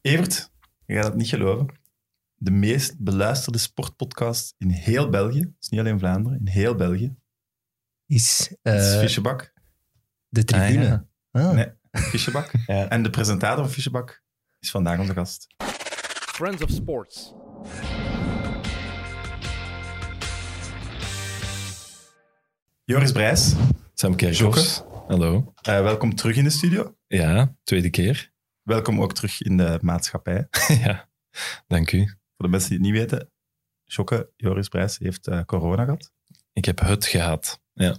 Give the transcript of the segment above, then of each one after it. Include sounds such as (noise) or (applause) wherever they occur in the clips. Evert, je gaat het niet geloven. De meest beluisterde sportpodcast in heel België. Het is niet alleen Vlaanderen, in heel België. Is Het is eh, Fischebak. de tribune. Ah, Ah. Nee. Fischebak. Ja. En de presentator van Fischebak is vandaag onze gast. Friends of Sports. Joris Brijs, Sam Kerkhoffs. Hallo. eh, welkom terug in de studio. Ja, tweede keer. Welkom ook terug in de maatschappij. ja, dank u. Voor de mensen die het niet weten, Jokke, Joris Brijs heeft eh, corona gehad. Ik heb het gehad. Ja,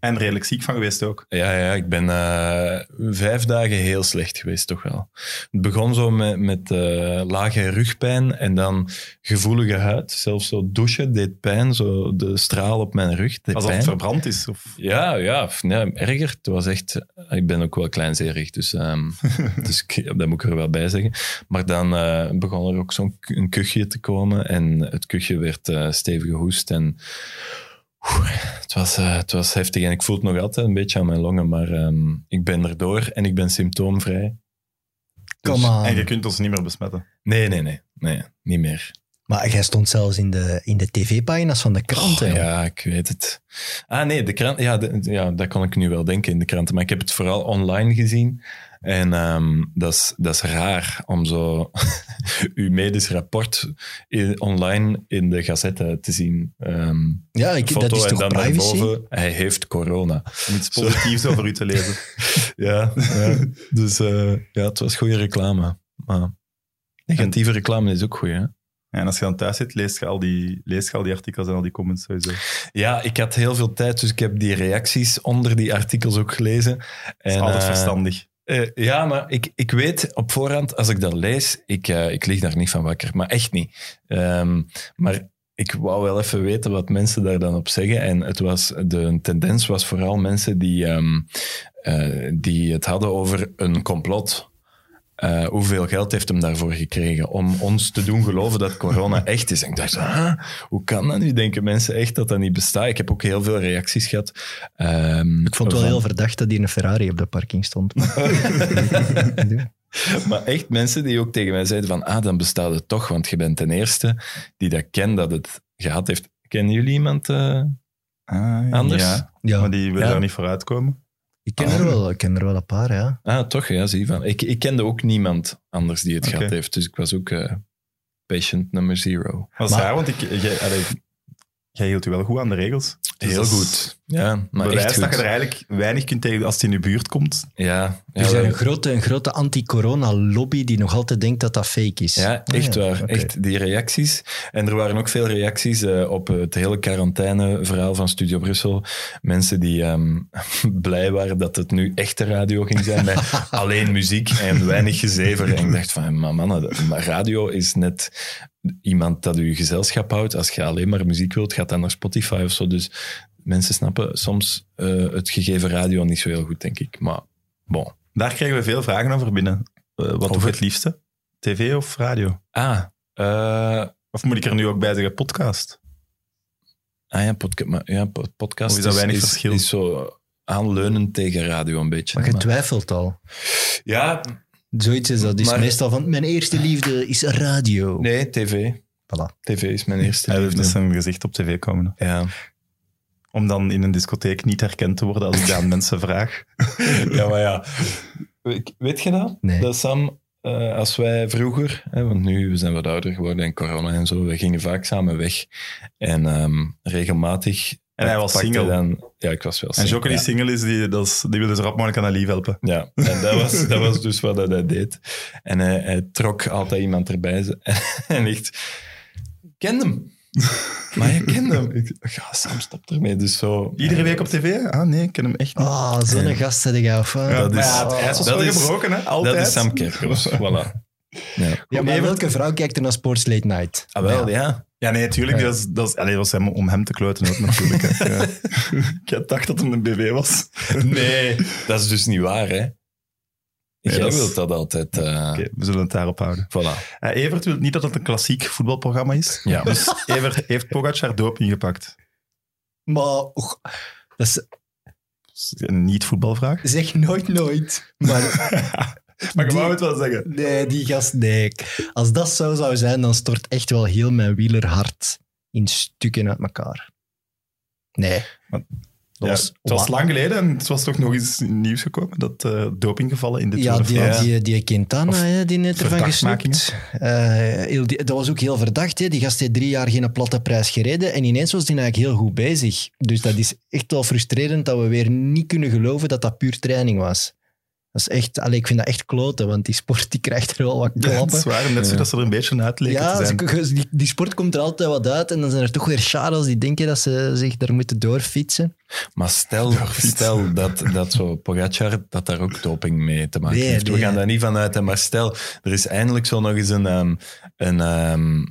En redelijk ziek van geweest ook. ja, ja ik ben eh, vijf dagen heel slecht geweest, toch wel. Het begon zo met, met eh, lage rugpijn en dan gevoelige huid. Zelfs zo douchen deed pijn, zo de straal op mijn rug deed Alsof het pijn. verbrand is. Of... Ja, ja, f- nee, erger. Het was echt... Ik ben ook wel kleinzerig, dus, ehm, dus ik- dat moet ik er wel bij zeggen. Maar dan eh, begon er ook zo'n k- een kuchje te komen en het kuchje werd eh, stevig gehoest en... oeh, het, was, eh, het was heftig en ik voel het nog altijd een beetje aan mijn longen, maar ehm, ik ben erdoor en ik ben symptoomvrij. Dus Come on. Dus- En je kunt ons niet meer besmetten. Nee, nee, nee. Nee, niet meer. Maar jij stond zelfs in de, in de tv-pagina's van de kranten. Oh, joh. ja, ik weet het. Ah nee, de krant, ja, de- ja, dat kon ik nu wel denken in de kranten, maar ik heb het vooral online gezien. En ehm, dat, is, dat is raar om zo (laughs) uw medisch rapport in- online in de gazette te zien. Ehm ja ik, foto dat is en toch dan privacy? daarboven, hij heeft corona. Om iets (laughs) positiefs over u te lezen. Ja, (laughs) ja. dus eh, ja, het was goede reclame. Maar negatieve reclame is ook goed, hè? En als je dan thuis zit, leest je al die, leest je al die artikels en al die comments sowieso. Ja, ik had heel veel tijd, dus ik heb die reacties onder die artikels ook gelezen. Dat is En, altijd eh, verstandig. Eh, ja, maar ik, ik weet op voorhand, als ik dat lees, ik, eh, ik lig daar niet van wakker. Maar echt niet. Ehm, maar ik wou wel even weten wat mensen daar dan op zeggen. En het was, de tendens was vooral mensen die, ehm, eh, die het hadden over een complot. Eh, hoeveel geld heeft hem daarvoor gekregen om ons te doen geloven dat (laughs) corona echt is? En ik dacht, ah, hoe kan dat nu? Denken mensen echt dat dat niet bestaat? Ik heb ook heel veel reacties gehad. ehm, Ik vond het wel van- (laughs) heel verdacht dat hier een Ferrari op de parking stond. Maar echt mensen die ook tegen mij zeiden van, ah, dan bestaat het toch, want je bent de eerste die dat kent dat het gehad heeft. Kennen jullie iemand eh, Ah, anders? Ja, ja, maar die wil Ja. daar niet vooruit komen. ik ken, er wel, ik ken er wel een paar, ja. Ah, toch, ja, zie je van. Ik, ik kende ook niemand anders die het Oké. gehad heeft, dus ik was ook eh, patient nummer zero. Maar dat is Maar- raar, want ik, jij, allee, jij hield je wel goed aan de regels. Dus Heel dat is goed. Ja, maar bewijs echt goed. dat je er eigenlijk weinig kunt tegen als het in je buurt komt. Ja, ja, Dus Er is wel- een grote, een grote anti-corona-lobby die nog altijd denkt dat dat fake is. Ja, echt Ah, ja, waar. oké. Echt die reacties. En er waren ook veel reacties eh, op het hele quarantaine-verhaal van Studio Brussel. Mensen die ehm, (laughs) blij waren dat het nu echte radio ging zijn. Met (laughs) alleen muziek en weinig gezever. En ik dacht van, maar mannen, de- maar radio is net iemand dat u gezelschap houdt. Als je alleen maar muziek wilt, gaat dan naar Spotify of zo. Dus mensen snappen soms eh, het gegeven radio niet zo heel goed, denk ik. Maar bon. Daar krijgen we veel vragen over binnen. Eh, wat doe je Over- het liefste? TV of radio? Ah, eh, Of moet ik er nu ook bij zeggen podcast? Ah ja, podca maar ja po- podcast Of is dat weinig is, verschil? is zo aanleunend tegen radio een beetje. Maar je Maar- twijfelt al. ja, Zoiets is dat. is Maar- meestal van, mijn eerste liefde is radio. nee, tv. Voilà. TV is mijn eerste Hij wil liefde. met zijn gezicht op tv komen. Ja. Om dan in een discotheek niet herkend te worden als ik dat aan (laughs) mensen vraag. ja, maar ja. Ik- Weet je dat? Nee. Dat Sam, eh, als wij vroeger, hè, want nu zijn we wat ouder geworden en corona en zo, we gingen vaak samen weg. En ehm, regelmatig... En hij was pakte single. Dan, ja, ik was wel En single. Jokke die ja. single is, die, dat is- die wil dus zo rap mogelijk aan dat lief helpen. Ja, en dat was, dat was dus wat hij deed. En hij, hij trok altijd iemand erbij. ze- (laughs) En echt, ik ken hem. Maar je kent hem. Ik dacht, ja, Sam, stop ermee. Dus zo... Iedere week op tv? Ah nee, ik ken hem echt niet. Ah, zo'n Ja. gast heb ik af. Ja, dat maar is- ja, het ijs was dat wel is- gebroken, hè? Altijd. Dat is Sam (laughs) Kerkhoffs, voilà. Ja. Ja, maar Evert- welke vrouw kijkt er naar Sports Late Night? Ah, wel, ja. Ja, nee, natuurlijk. Ja. Dat is, dat is, allee, dat was hem, om hem te kloten ook natuurlijk. (laughs) hè. Ja. Ik dacht dat het een BB was. Nee, dat is dus niet waar, hè. Nee, Jij dat is- wilt dat altijd... eh, Oké, we zullen het daarop houden. Voilà. Eh, Evert wil niet dat het een klassiek voetbalprogramma is. Ja. Dus Evert heeft Pogacar doping gepakt. Maar och, dat is, Dat is Een niet-voetbalvraag. zeg nooit nooit. Maar (laughs) Maar je Die- wou het wel zeggen. Nee, die gast, nee. Als dat zo zou zijn, dan stort echt wel heel mijn wielerhart in stukken uit elkaar. Nee. Maar- Dat Ja, was het was wa- lang geleden en het was toch nog eens in het nieuws gekomen dat eh, dopinggevallen in de Tour Ja, de die, France. die, die Quintana, Of hè, die net ervan verdachtmakingen. gesnoept. Eh, heel die- dat was ook heel verdacht. Hè. Die gast heeft drie jaar geen platte prijs gereden en ineens was die eigenlijk heel goed bezig. Dus dat is echt wel frustrerend dat we weer niet kunnen geloven dat dat puur training was. Dat is echt, allee, ik vind dat echt kloten, want die sport die krijgt er wel wat (laughs) Ja, het klappen. is waar, net zo Ja. dat ze er een beetje uit leken Ja, te zijn. ze- ze- die, die sport komt er altijd wat uit. En dan zijn er toch weer charles die denken dat ze zich daar moeten doorfietsen. Maar stel, stel dat, dat zo Pogacar, dat daar ook doping mee te maken Nee, heeft. We nee. gaan daar niet van uit. hè, Maar stel, er is eindelijk zo nog eens een, ehm, een ehm,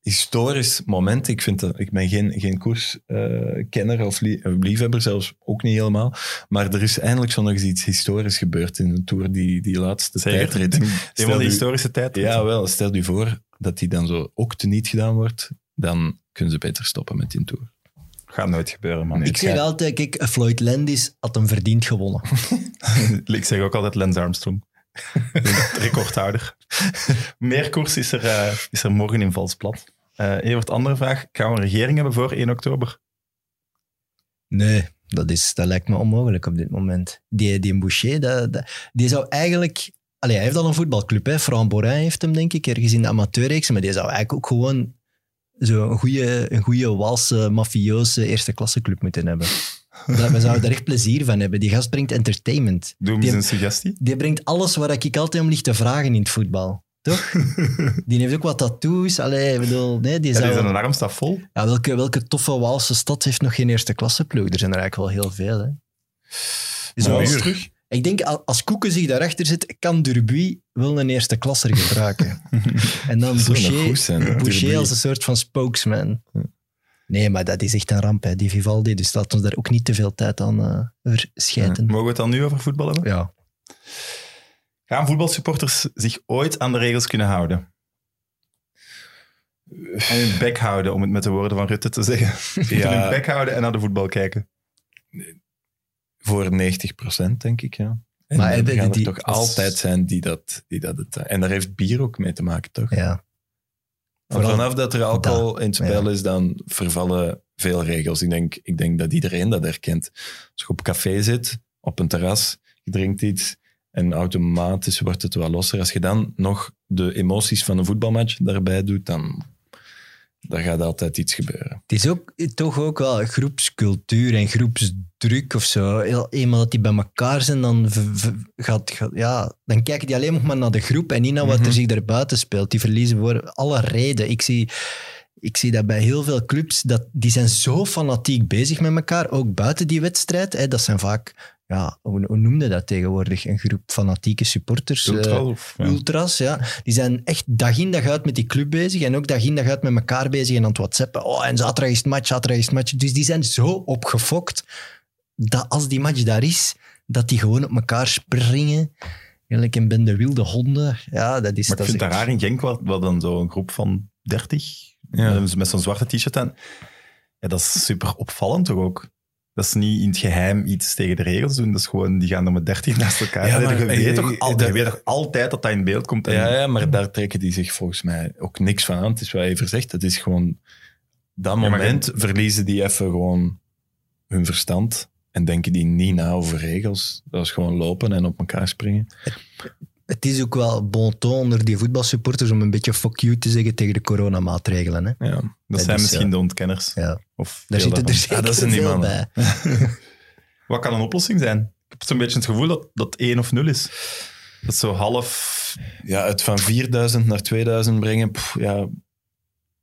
historisch moment. Ik, vind dat, ik ben geen, geen koerskenner of, lie- of liefhebber, zelfs ook niet helemaal. Maar er is eindelijk zo nog eens iets historisch gebeurd in de Tour, die, die laatste Zeker. tijdrit. Een van de u- historische tijd. Ja, wel. Stel je voor dat die dan zo ook teniet gedaan wordt, dan kunnen ze beter stoppen met die Tour. Gaat nooit gebeuren, man. Nee. Ik zeg Ja. altijd, kijk, Floyd Landis had hem verdiend (laughs) gewonnen. Ik, zeg ook altijd Lance Armstrong. (laughs) Recordhouder. Meer koers is er, eh, is er morgen in Valsplat. Eh Evert, andere vraag. Gaan we een regering hebben voor 1 oktober? Nee, dat, is, dat lijkt me onmogelijk op dit moment. Die, die Boucher, dat, dat- die zou eigenlijk... Allee, hij heeft al een voetbalclub, hè. Fran Borin heeft hem, denk ik, ergens in de amateurreeks. Maar die zou eigenlijk ook gewoon zo'n goede, een goede Walse, mafioze eerste klasse club moeten (laughs) hebben. Dat, we zouden daar echt plezier van hebben. Die gast brengt entertainment. Doe hem Die- eens een suggestie. Die brengt alles waar ik altijd om lig te vragen in het voetbal. Toch? die heeft ook wat tattoos. Allee, ik bedoel, nee, die Ja, die zou... zijn arm staat vol. Ja, welke, welke toffe Waalse stad heeft nog geen eerste klasse ploeg? Er zijn er eigenlijk wel heel veel, hè. Is wel- Mooi. Uur. terug. ik denk, al- als Koeken zich daarachter zit, kan Durbuy wel een eerste klasser gebruiken. en dan Zou nog goed Boucher, zijn, hè, Boucher Derby. als een soort van spokesman. Nee, maar dat is echt een ramp, hè. die Vivaldi. Dus laat ons daar ook niet te veel tijd aan eh verschijten. Mogen we het dan nu over voetbal hebben? Ja. Gaan voetbalsupporters zich ooit aan de regels kunnen houden? En hun bek houden, om het met de woorden van Rutte te zeggen. Ja. Hun bek houden en naar de voetbal kijken. voor 90% denk ik, ja. En Maar maar er hebben gaan er die- toch als- altijd zijn die dat, die dat het... eh, En daar heeft bier ook mee te maken, toch? ja. Want vooral vanaf dat er alcohol in het spel is, dan vervallen veel regels. Ik denk, ik denk dat iedereen dat herkent. Als je op café zit, op een terras, je drinkt iets en automatisch wordt het wel losser. Als je dan nog de emoties van een voetbalmatch daarbij doet, dan daar gaat altijd iets gebeuren. Het is ook eh, toch ook wel groepscultuur en groepsdruk of zo. Heel- Eenmaal dat die bij elkaar zijn, dan, v- v- gaat, gaat- ja, dan kijken die alleen nog maar naar de groep en niet naar wat Mhm. er zich daarbuiten speelt. Die verliezen voor alle reden. Ik zie, ik zie dat bij heel veel clubs, dat, die zijn zo fanatiek bezig met elkaar, ook buiten die wedstrijd. Hè, dat zijn vaak, ja, hoe, hoe noemde dat tegenwoordig? Een groep fanatieke supporters. eh, Ultras of- ja. ultras, ja. Die zijn echt dag in dag uit met die club bezig en ook dag in dag uit met elkaar bezig en aan het whatsappen. Oh, en zaterdag is het match, zaterdag is het match. Dus die zijn zo opgefokt dat als die match daar is, dat die gewoon op elkaar springen. Eigenlijk een bende wilde honden. Ja, dat is... Maar ik dat is vind het echt- raar in Genk, wel, wel dan zo'n groep van 30 Ja. eh, met zo'n zwarte t-shirt aan. Ja, dat is super opvallend toch ook? Dat is niet in het geheim iets tegen de regels doen. Dat is gewoon, die gaan er met 30 naast elkaar. Ja, Ja, maar- je, weet eh, toch eh, al, dat- je weet toch altijd dat dat in beeld komt. En, Ja, ja, maar daar trekken die zich volgens mij ook niks van aan. Het is wat even zegt, het is gewoon... Dat maar moment verliezen die even gewoon hun verstand en denken die niet na over regels. Dat is gewoon lopen en op elkaar springen. Het is ook wel bon ton onder die voetbalsupporters om een beetje fuck you te zeggen tegen de coronamaatregelen. Hè. Ja. dat dat zijn is, misschien ja. de ontkenners. Ja. Of Daar veel zitten er daarvan. zeker dat zijn die veel mannen. bij. Wat kan een oplossing zijn? Ik heb zo'n beetje het gevoel dat dat 1 of 0 is. Dat is zo half... Ja, het van 4000 naar 2000 brengen, pff, ja,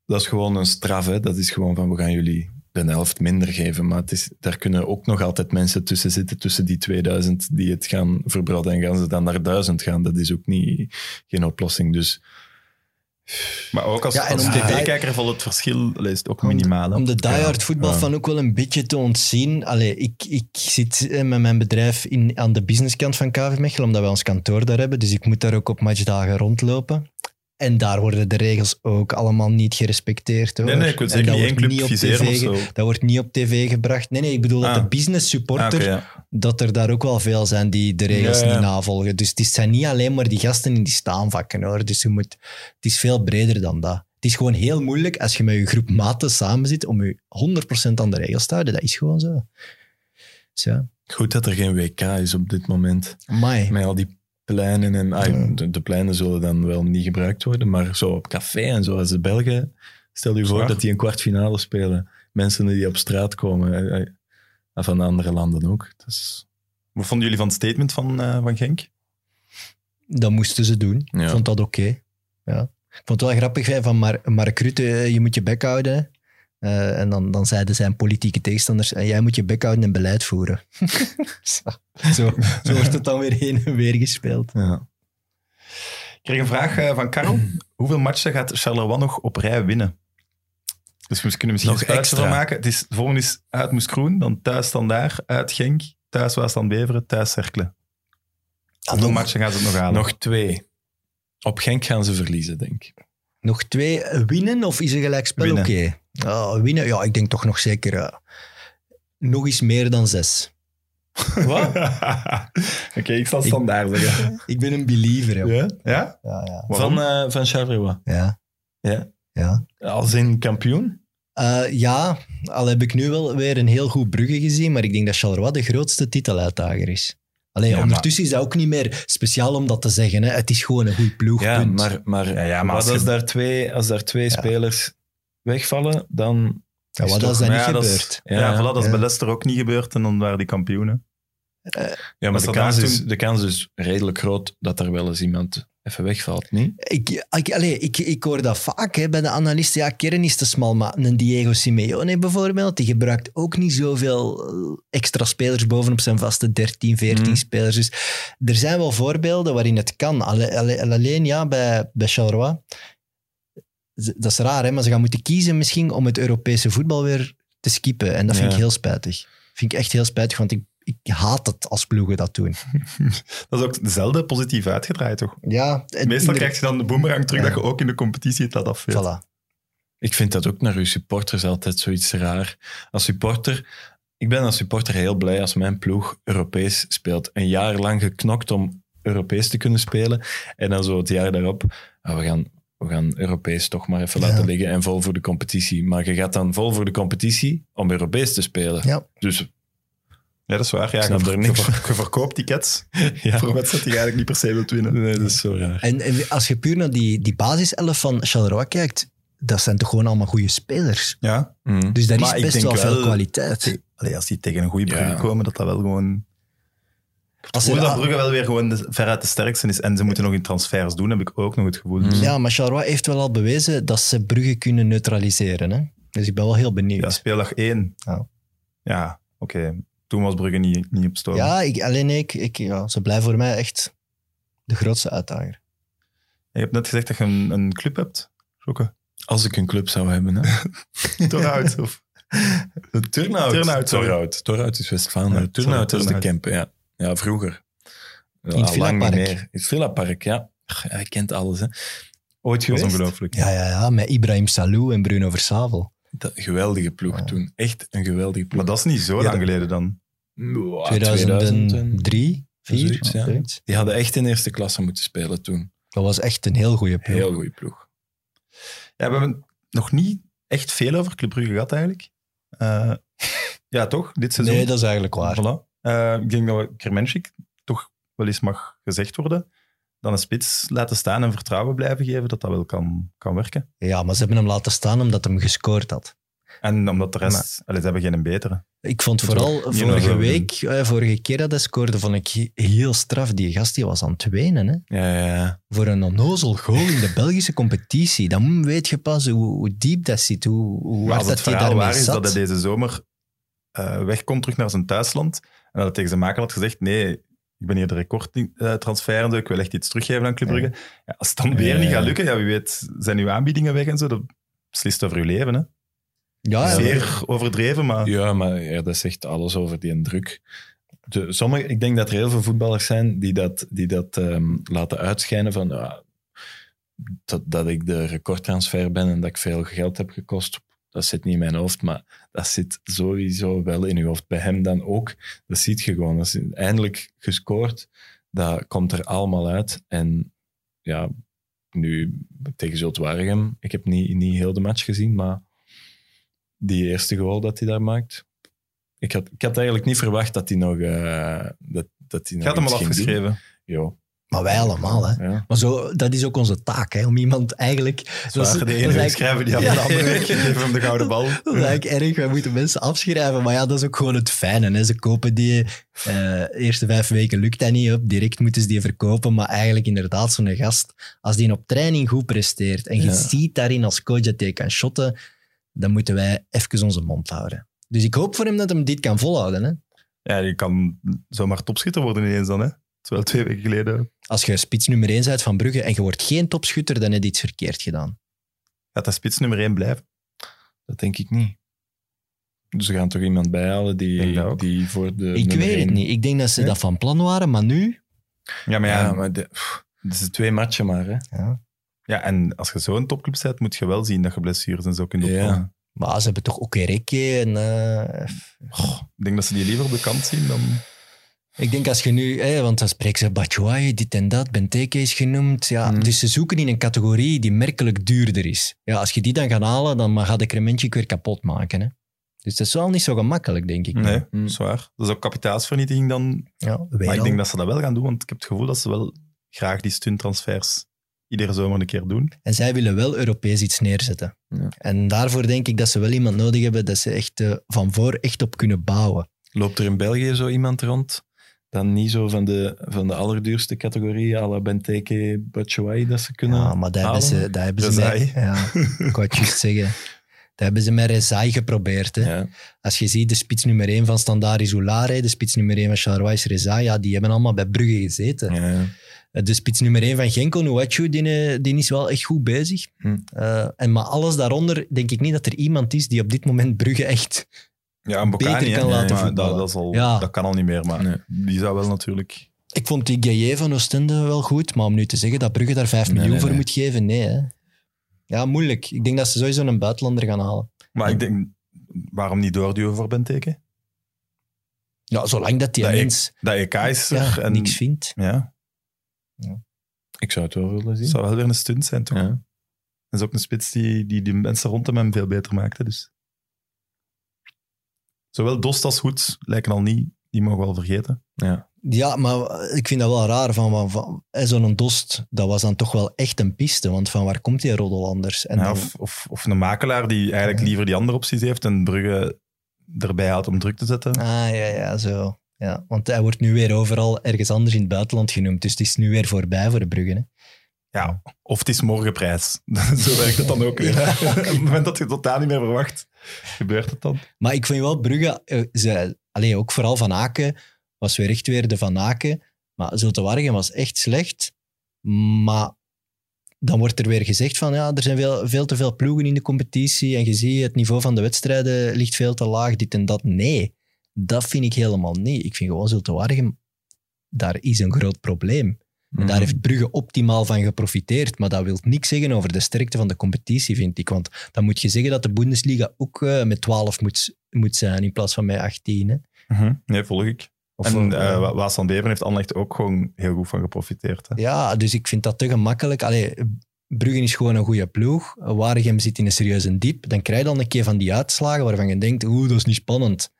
dat is gewoon een straf. Hè? Dat is gewoon van, we gaan jullie de helft minder geven. Maar het is, daar kunnen ook nog altijd mensen tussen zitten, tussen die 2000 die het gaan verbroden en gaan ze dan naar 1000 gaan. Dat is ook niet, geen oplossing. Dus Maar ook als, Ja, en als om de- tv-kijker valt het verschil allee, is het ook Om de- minimaal. hè? Om de diehard ja. voetbal van ook wel een beetje te ontzien. Allee, ik, ik zit eh, met mijn bedrijf in, aan de businesskant van KV Mechelen, omdat wij ons kantoor daar hebben. Dus ik moet daar ook op matchdagen rondlopen. En daar worden de regels ook allemaal niet gerespecteerd. Hoor. Nee, nee, ik wil En zeker dat niet één wordt club op viseren of tv ge- zo. Dat wordt niet op tv gebracht. Nee, nee, ik bedoel Ah. dat de business supporter, Ah, oké, ja. dat er daar ook wel veel zijn die de regels Ja, ja. niet navolgen. Dus het is- zijn niet alleen maar die gasten in die staanvakken hoor. Dus je moet, het is veel breder dan dat. Het is gewoon heel moeilijk als je met je groep maten samen zit om je 100% aan de regels te houden. Dat is gewoon zo. Dus ja, Goed dat er geen WK is op dit moment. amai. Met al die pleinen en... ah, Ja. de, de pleinen zullen dan wel niet gebruikt worden, maar zo op café en zo. Als de Belgen... Stel je voor Zwaar. dat die een kwartfinale spelen. Mensen die op straat komen. eh, eh, en Van andere landen ook. Dus, Dat is... Wat vonden jullie van het statement van, eh, van Genk? Dat moesten ze doen. Ja. Ik vond dat oké. Ja. Ik vond het wel grappig hè, van Mar- Mark Rutte, eh, je moet je bek houden. hè. Eh, en dan, dan zeiden zijn politieke tegenstanders, eh, jij moet je bek houden en beleid voeren. (laughs) zo, zo, zo wordt het dan weer heen en weer gespeeld. Ja. Ik kreeg een vraag eh, van Karel. Hoeveel matchen gaat Charleroi nog op rij winnen? Dus we kunnen misschien Nog een spelletje extra. van maken. Het is, de volgende is uit Moeskroen, dan thuis Standaar, uit Genk, thuis Waasland Beveren, thuis Cerkelen. Hoeveel nog- matchen gaan ze het nog halen? Nog twee. Op Genk gaan ze verliezen, denk ik. Nog twee eh, winnen of is een gelijkspel oké? Winnen. Ah, winnen? Ja, ik denk toch nog zeker eh, nog eens meer dan zes. Wat? (laughs) Oké, ik zal Standaar zeggen. Ik ben een believer. joh. Ja? ja? Ja, ja. Waarom? Van, eh van Charleroi. ja. Ja. ja. Als in kampioen? Eh, ja, al heb ik nu wel weer een heel goed Brugge gezien, maar ik denk dat Charleroi de grootste titeluitdager is. Alleen Ja, ondertussen is dat ook niet meer speciaal om dat te zeggen. Hè. Het is gewoon een goed ploeg. Ja, punt. maar, maar, Ja, ja, maar wat als als, je- daar twee, als daar twee spelers wegvallen, dan... ja, is wat toch- als dat maar niet ja, dat is- gebeurt? Ja, voilà, dat is ja. bij Leicester ook niet gebeurd en dan waren die kampioenen. Ja, maar Als de dat kans, daar is, toen- de kans is redelijk groot dat er wel eens iemand even wegvalt, niet? Ik, ik, allee, ik, ik hoor dat vaak hè, bij de analisten. Ja, kern is te smal, maar een Diego Simeone bijvoorbeeld, die gebruikt ook niet zoveel eh, extra spelers bovenop zijn vaste 13, 14 Mhm. spelers. Dus er zijn wel voorbeelden waarin het kan. Alle- alle- Alleen ja, bij, bij Charleroi, ze- dat is raar, hè, maar ze gaan moeten kiezen misschien om het Europese voetbal weer te skippen. En dat vind Ja. ik heel spijtig. Vind ik echt heel spijtig, want ik, ik haat het als ploegen dat doen. Dat is ook zelden positief uitgedraaid, toch? Ja, het- Meestal inder- krijg je dan de boemerang terug Ja. dat je ook in de competitie het laat afweten. Voilà. Ik vind dat ook naar uw supporters altijd zoiets raar. Als supporter, ik ben als supporter heel blij als mijn ploeg Europees speelt. Een jaar lang geknokt om Europees te kunnen spelen. En dan zo het jaar daarop, ah, we, gaan, we gaan Europees toch maar even Ja. laten liggen en vol voor de competitie. Maar je gaat dan vol voor de competitie om Europees te spelen. Ja. Dus (laughs) Ja, dat is waar. Ja, Ik snap je, er niks je ver- je verkoopt tickets ja, voor een wedstrijd die je eigenlijk niet per se wilt winnen. nee, dat is zo raar. En, en als je puur naar die, die basiself van Charleroi kijkt, dat zijn toch gewoon allemaal goede spelers. Ja, Mm. Dus daar Maar ik is best denk wel veel wel- kwaliteit. Allee, als die tegen een goede Ja. brug komen, dat dat wel gewoon... Als Hoe er- dat Brugge wel weer gewoon de, veruit de sterkste is. En ze moeten nog in transfers doen, heb ik ook nog het gevoel. Dus ja, maar Charleroi heeft wel al bewezen dat ze Brugge kunnen neutraliseren. Hè? Dus ik ben wel heel ja, benieuwd. speeldag 1. Ja. Ja, oké. Toen was Brugge niet, niet op stoom. Ja, ik, alleen ik, ik ja, ze blijven voor mij echt de grootste uitdager. Je hebt net gezegd dat je een, een club hebt. Zoeken. Als ik een club zou hebben. Hè. Turnhout. Of... (laughs) Turnhout. Turnhout, sorry. Turnhout. Turnhout is West-Vlaanderen. Ja, Turnhout sorry, is de Turnhout. camp, ja. Ja, vroeger. Ja, het lang niet Villapark. meer. In het Villapark, ja. Ach, Hij kent alles, hè. Ooit Dat is geweest. ongelooflijk. Ja, ja, ja, met Ibrahim Salou en Bruno Versavel. Dat- geweldige ploeg Ja. toen. Echt een geweldige Maar ploeg. dat is niet zo Ja, lang geleden dan. Ah, Wow, 2003, Zoiets, 2004. ja. Die hadden echt in eerste klasse moeten spelen toen. Dat was echt een heel goede ploeg. Heel goede ploeg. Ja, we hebben nog niet echt veel over Club Brugge gehad eigenlijk. Eh, ja, toch? Dit seizoen. nee, dat is eigenlijk waar. Voilà. Eh, ik denk dat we Kermenschik toch wel eens mag gezegd worden. Dan een spits laten staan en vertrouwen blijven geven dat dat wel kan, kan werken. Ja, maar ze hebben hem laten staan omdat hem gescoord had. En omdat de rest... Allee, ze hebben geen betere. Ik vond Dat vooral wordt niet vorige naar zo week, eh, vorige keer dat hij scoorde, vond ik he- heel straf. Die gast die was aan het wenen. Hè? Ja, ja, ja. Voor een onnozel goal in de Belgische competitie. Dan weet je pas hoe, hoe diep dat zit, hoe, hoe Maar hard als het dat hij verhaal daarmee waar is zat. dat hij deze zomer eh, wegkomt terug naar zijn thuisland en dat hij tegen zijn maker had gezegd nee, ik ben hier de recordtransfer en zo, ik wil echt iets teruggeven aan Club Ja. Brugge. Ja, als het dan weer niet Ja. gaat lukken, ja, wie weet zijn uw aanbiedingen weg en zo. Dat beslist over uw leven. Hè. Ah, ja, ja, Zeer overdreven, maar... Ja, maar ja, dat zegt alles over die druk. De, sommige, ik denk dat er heel veel voetballers zijn die dat, die dat ehm, laten uitschijnen van ja, ah, dat, dat ik de recordtransfer ben en dat ik veel geld heb gekost, dat zit niet in mijn hoofd, maar dat zit sowieso wel in je hoofd. Bij hem dan ook. Dat ziet je gewoon. Dat is eindelijk gescoord. Dat komt er allemaal uit. En ja, nu tegen Zulte Waregem, ik heb niet, niet heel de match gezien, maar die eerste goal dat hij daar maakt. Ik had, ik had eigenlijk niet verwacht dat hij nog. eh dat, dat hij Ik nog had hem al iets ging doen. afgeschreven. Jo, Maar wij allemaal, hè. ja. Maar zo, dat is ook onze taak, hè, om iemand eigenlijk... Dat is- waren de dat is ene eigenlijk- schrijven die had Ja. de andere (laughs) weggegeven hem de gouden bal. Dat is eigenlijk erg. Wij moeten mensen afschrijven. Maar ja, dat is ook gewoon het fijne. Hè. Ze kopen die. eh eerste vijf weken lukt dat niet op. Direct moeten ze die verkopen. Maar eigenlijk inderdaad, zo'n gast, als die op training goed presteert en je Ja. ziet daarin als coach dat hij kan shotten, dan moeten wij even onze mond houden. Dus ik hoop voor hem dat hem dit kan volhouden. Hè. Ja, je kan zomaar topschitter worden ineens dan, hè? Terwijl twee weken geleden Als je spits nummer 1 bent van Brugge en je wordt geen topschutter, dan heb je iets verkeerd gedaan. gaat dat spits nummer één blijven. dat denk ik niet. Ze gaan toch iemand bijhalen Denk die, dat ook. die voor de. ik Eh, nummer weet het één- niet. Ik denk dat ze Ja. dat van plan waren, maar nu... Ja, maar Ja, ja, maar de, pff, het is twee matchen maar. Hè. Ja, en als je zo'n topclub bent, moet je wel zien dat je blessures en zo kunt Ja. opvangen. Maar ze hebben toch ook Ereke en... eh, Ik denk dat ze die liever op de kant zien dan... Ik denk als je nu, hè, want dan spreken ze Batshuayi, dit en dat, Benteke is genoemd. Ja, Mhm. Mm. Dus ze zoeken in een categorie die merkelijk duurder is. Ja, als je die dan gaat halen, dan mag- gaat de Crementje weer kapot maken. Hè? Dus dat is wel niet zo gemakkelijk, denk ik. Nee, Mm. zwaar. Dat is ook kapitaalsvernietiging dan. Ja, Maar Wijnald. ik denk dat ze dat wel gaan doen, want ik heb het gevoel dat ze wel graag die stunttransfers iedere zomer een keer doen. En zij willen wel Europees iets neerzetten. Ja. En daarvoor denk ik dat ze wel iemand nodig hebben dat ze echt eh, van voor echt op kunnen bouwen. Loopt er in België zo iemand rond? Dan niet zo van de, van de allerduurste categorie, à la Benteke, Batshuayi, dat ze kunnen. Ja, maar daar hebben ze, halen. daar hebben ze mij... Rezai. Ja, ik wou het juist (laughs) zeggen. Daar hebben ze met Rezai geprobeerd. Hè. Ja. Als je ziet, de spits nummer 1 van Standard is Oulare, de spits nummer 1 van Charleroi is Reza, ja, die hebben allemaal bij Brugge gezeten. Ja. De spits nummer 1 van Genk, Onuachu, die, eh, die is wel echt goed bezig. Hm. Eh, en maar alles daaronder, denk ik niet dat er iemand is die op dit moment Brugge echt... Ja, en Beter Boccani, hè. kan laten maar voetballen. dat, dat, is al, Ja. Mm. dat kan al niet meer, maar Nee. die zou wel natuurlijk... Ik vond die Gaillet van Oostende wel goed, maar om nu te zeggen dat Brugge daar 5 Nee, miljoen nee, voor nee. moet geven, nee. Hè. Ja, moeilijk. Ik denk dat ze sowieso een buitenlander gaan halen. Maar ik denk, waarom niet doorduwen voor Benteke? Ja, zolang dat die Dat ik- mens Dat EK is er ja, en... niks vindt. Ja, Ik zou het wel willen het zien. zou wel weer een stunt zijn, toch? Ja. Dat is ook een spits die, die de mensen rondom hem veel beter maakte. Dus. Zowel Dost als Hoed lijken al niet. Die mogen we al vergeten. Ja, maar ik vind dat wel raar. Van, van, van, hè, Zo'n dost, dat was dan toch wel echt een piste. Want van waar komt die roddel anders? En Ja, dan- of, of, of een makelaar die eigenlijk Ja. liever die andere opties heeft en Brugge erbij houdt om druk te zetten. Ah, ja, ja, zo. Ja, want hij wordt nu weer overal ergens anders in het buitenland genoemd. Dus het is nu weer voorbij voor de Brugge. Hè? Ja, of het is morgenprijs. (laughs) Zo werkt het dan ook weer. Ja. (laughs) Op het moment dat je het totaal niet meer verwacht, gebeurt het dan. Maar ik vind wel Brugge, eh, ze, allee, ook vooral Van Aken, was weer echt weer de Van Aken. Maar Zulte Waregem was echt slecht. Maar dan wordt er weer gezegd van ja, er zijn veel, veel te veel ploegen in de competitie. En je ziet, het niveau van de wedstrijden ligt veel te laag, dit en dat. Nee, dat vind ik helemaal niet. Ik vind gewoon Zulte Waregem, daar is een groot probleem. Mm. En daar heeft Brugge optimaal van geprofiteerd. Maar dat wil niks zeggen over de sterkte van de competitie, vind ik. Want dan moet je zeggen dat de Bundesliga ook eh, met 12 moet, moet zijn in plaats van met 18. Hè? Nee, volg ik. Of, en Mhm. eh, eh, Wa- Waas van Beveren heeft Anderlecht ook gewoon heel goed van geprofiteerd. Hè. ja, dus ik vind dat te gemakkelijk. Allee, Brugge is gewoon een goede ploeg. Waregem zit in een serieuze diep. Dan krijg je dan een keer van die uitslagen waarvan je denkt, oeh, dat is niet spannend.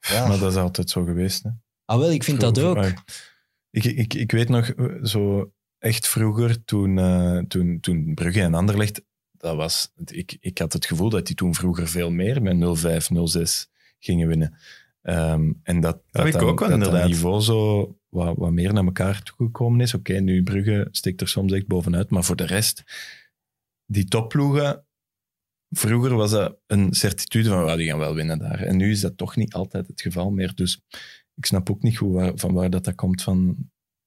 Ja. Maar dat is altijd zo geweest. Hè. Ah wel, ik vind dat Vroeger, ook. maar Ik, ik, ik weet nog, eh, zo echt vroeger, toen, eh, toen, toen Brugge en Anderlecht, dat was, ik, ik had het gevoel dat die toen vroeger veel meer met 05, 06 gingen winnen. Ehm, en dat, heb ik dan- ook wel, dat inderdaad. Dat niveau zo wat, wat meer naar elkaar toegekomen is. Oké, nu Brugge steekt er soms echt bovenuit, maar voor de rest, die topploegen, vroeger was dat een certitude van, "Ah, die gaan wel winnen daar. En nu is dat toch niet altijd het geval meer. Dus ik snap ook niet goed waar, van waar dat, dat komt van...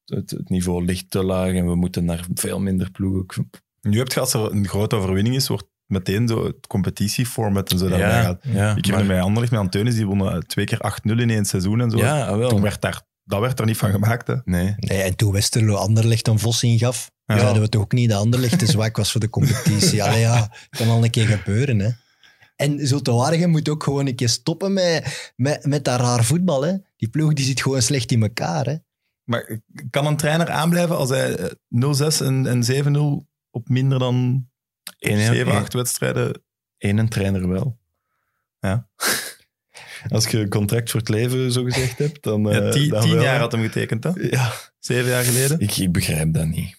Het, het niveau ligt te laag en we moeten naar veel minder ploegen. Ik- Nu heb je, als er een grote overwinning is, wordt meteen zo het competitieformat en zo daarbij gaat. ja, Ik herinner mij Anderlecht met Anteunis, die wonnen twee keer 8-0 in één seizoen en zo. ja, ah, wel. Toen werd daar dat werd er niet van gemaakt. Hè. Nee. Nee, en toen Westerlo Anderlecht een vos ingaf, Ja. zeiden we toch ook niet dat Anderlecht te zwak was voor de competitie. Allee, ja, kan al een keer gebeuren, hè. En zo te Waregem moet ook gewoon een keer stoppen met, met, met dat raar voetbal, hè. Die ploeg die zit gewoon slecht in elkaar, hè. Maar kan een trainer aanblijven als hij eh, 0-6 en, en 7-0 op minder dan Eén, 7, één- 8 wedstrijden? Eén trainer wel. Ja. (laughs) Als je een contract voor het leven zo gezegd hebt, dan. Ja, eh, tien, dan tien wel. jaar had hem getekend, hè? Ja, Zeven jaar geleden. ik, ik begrijp dat niet.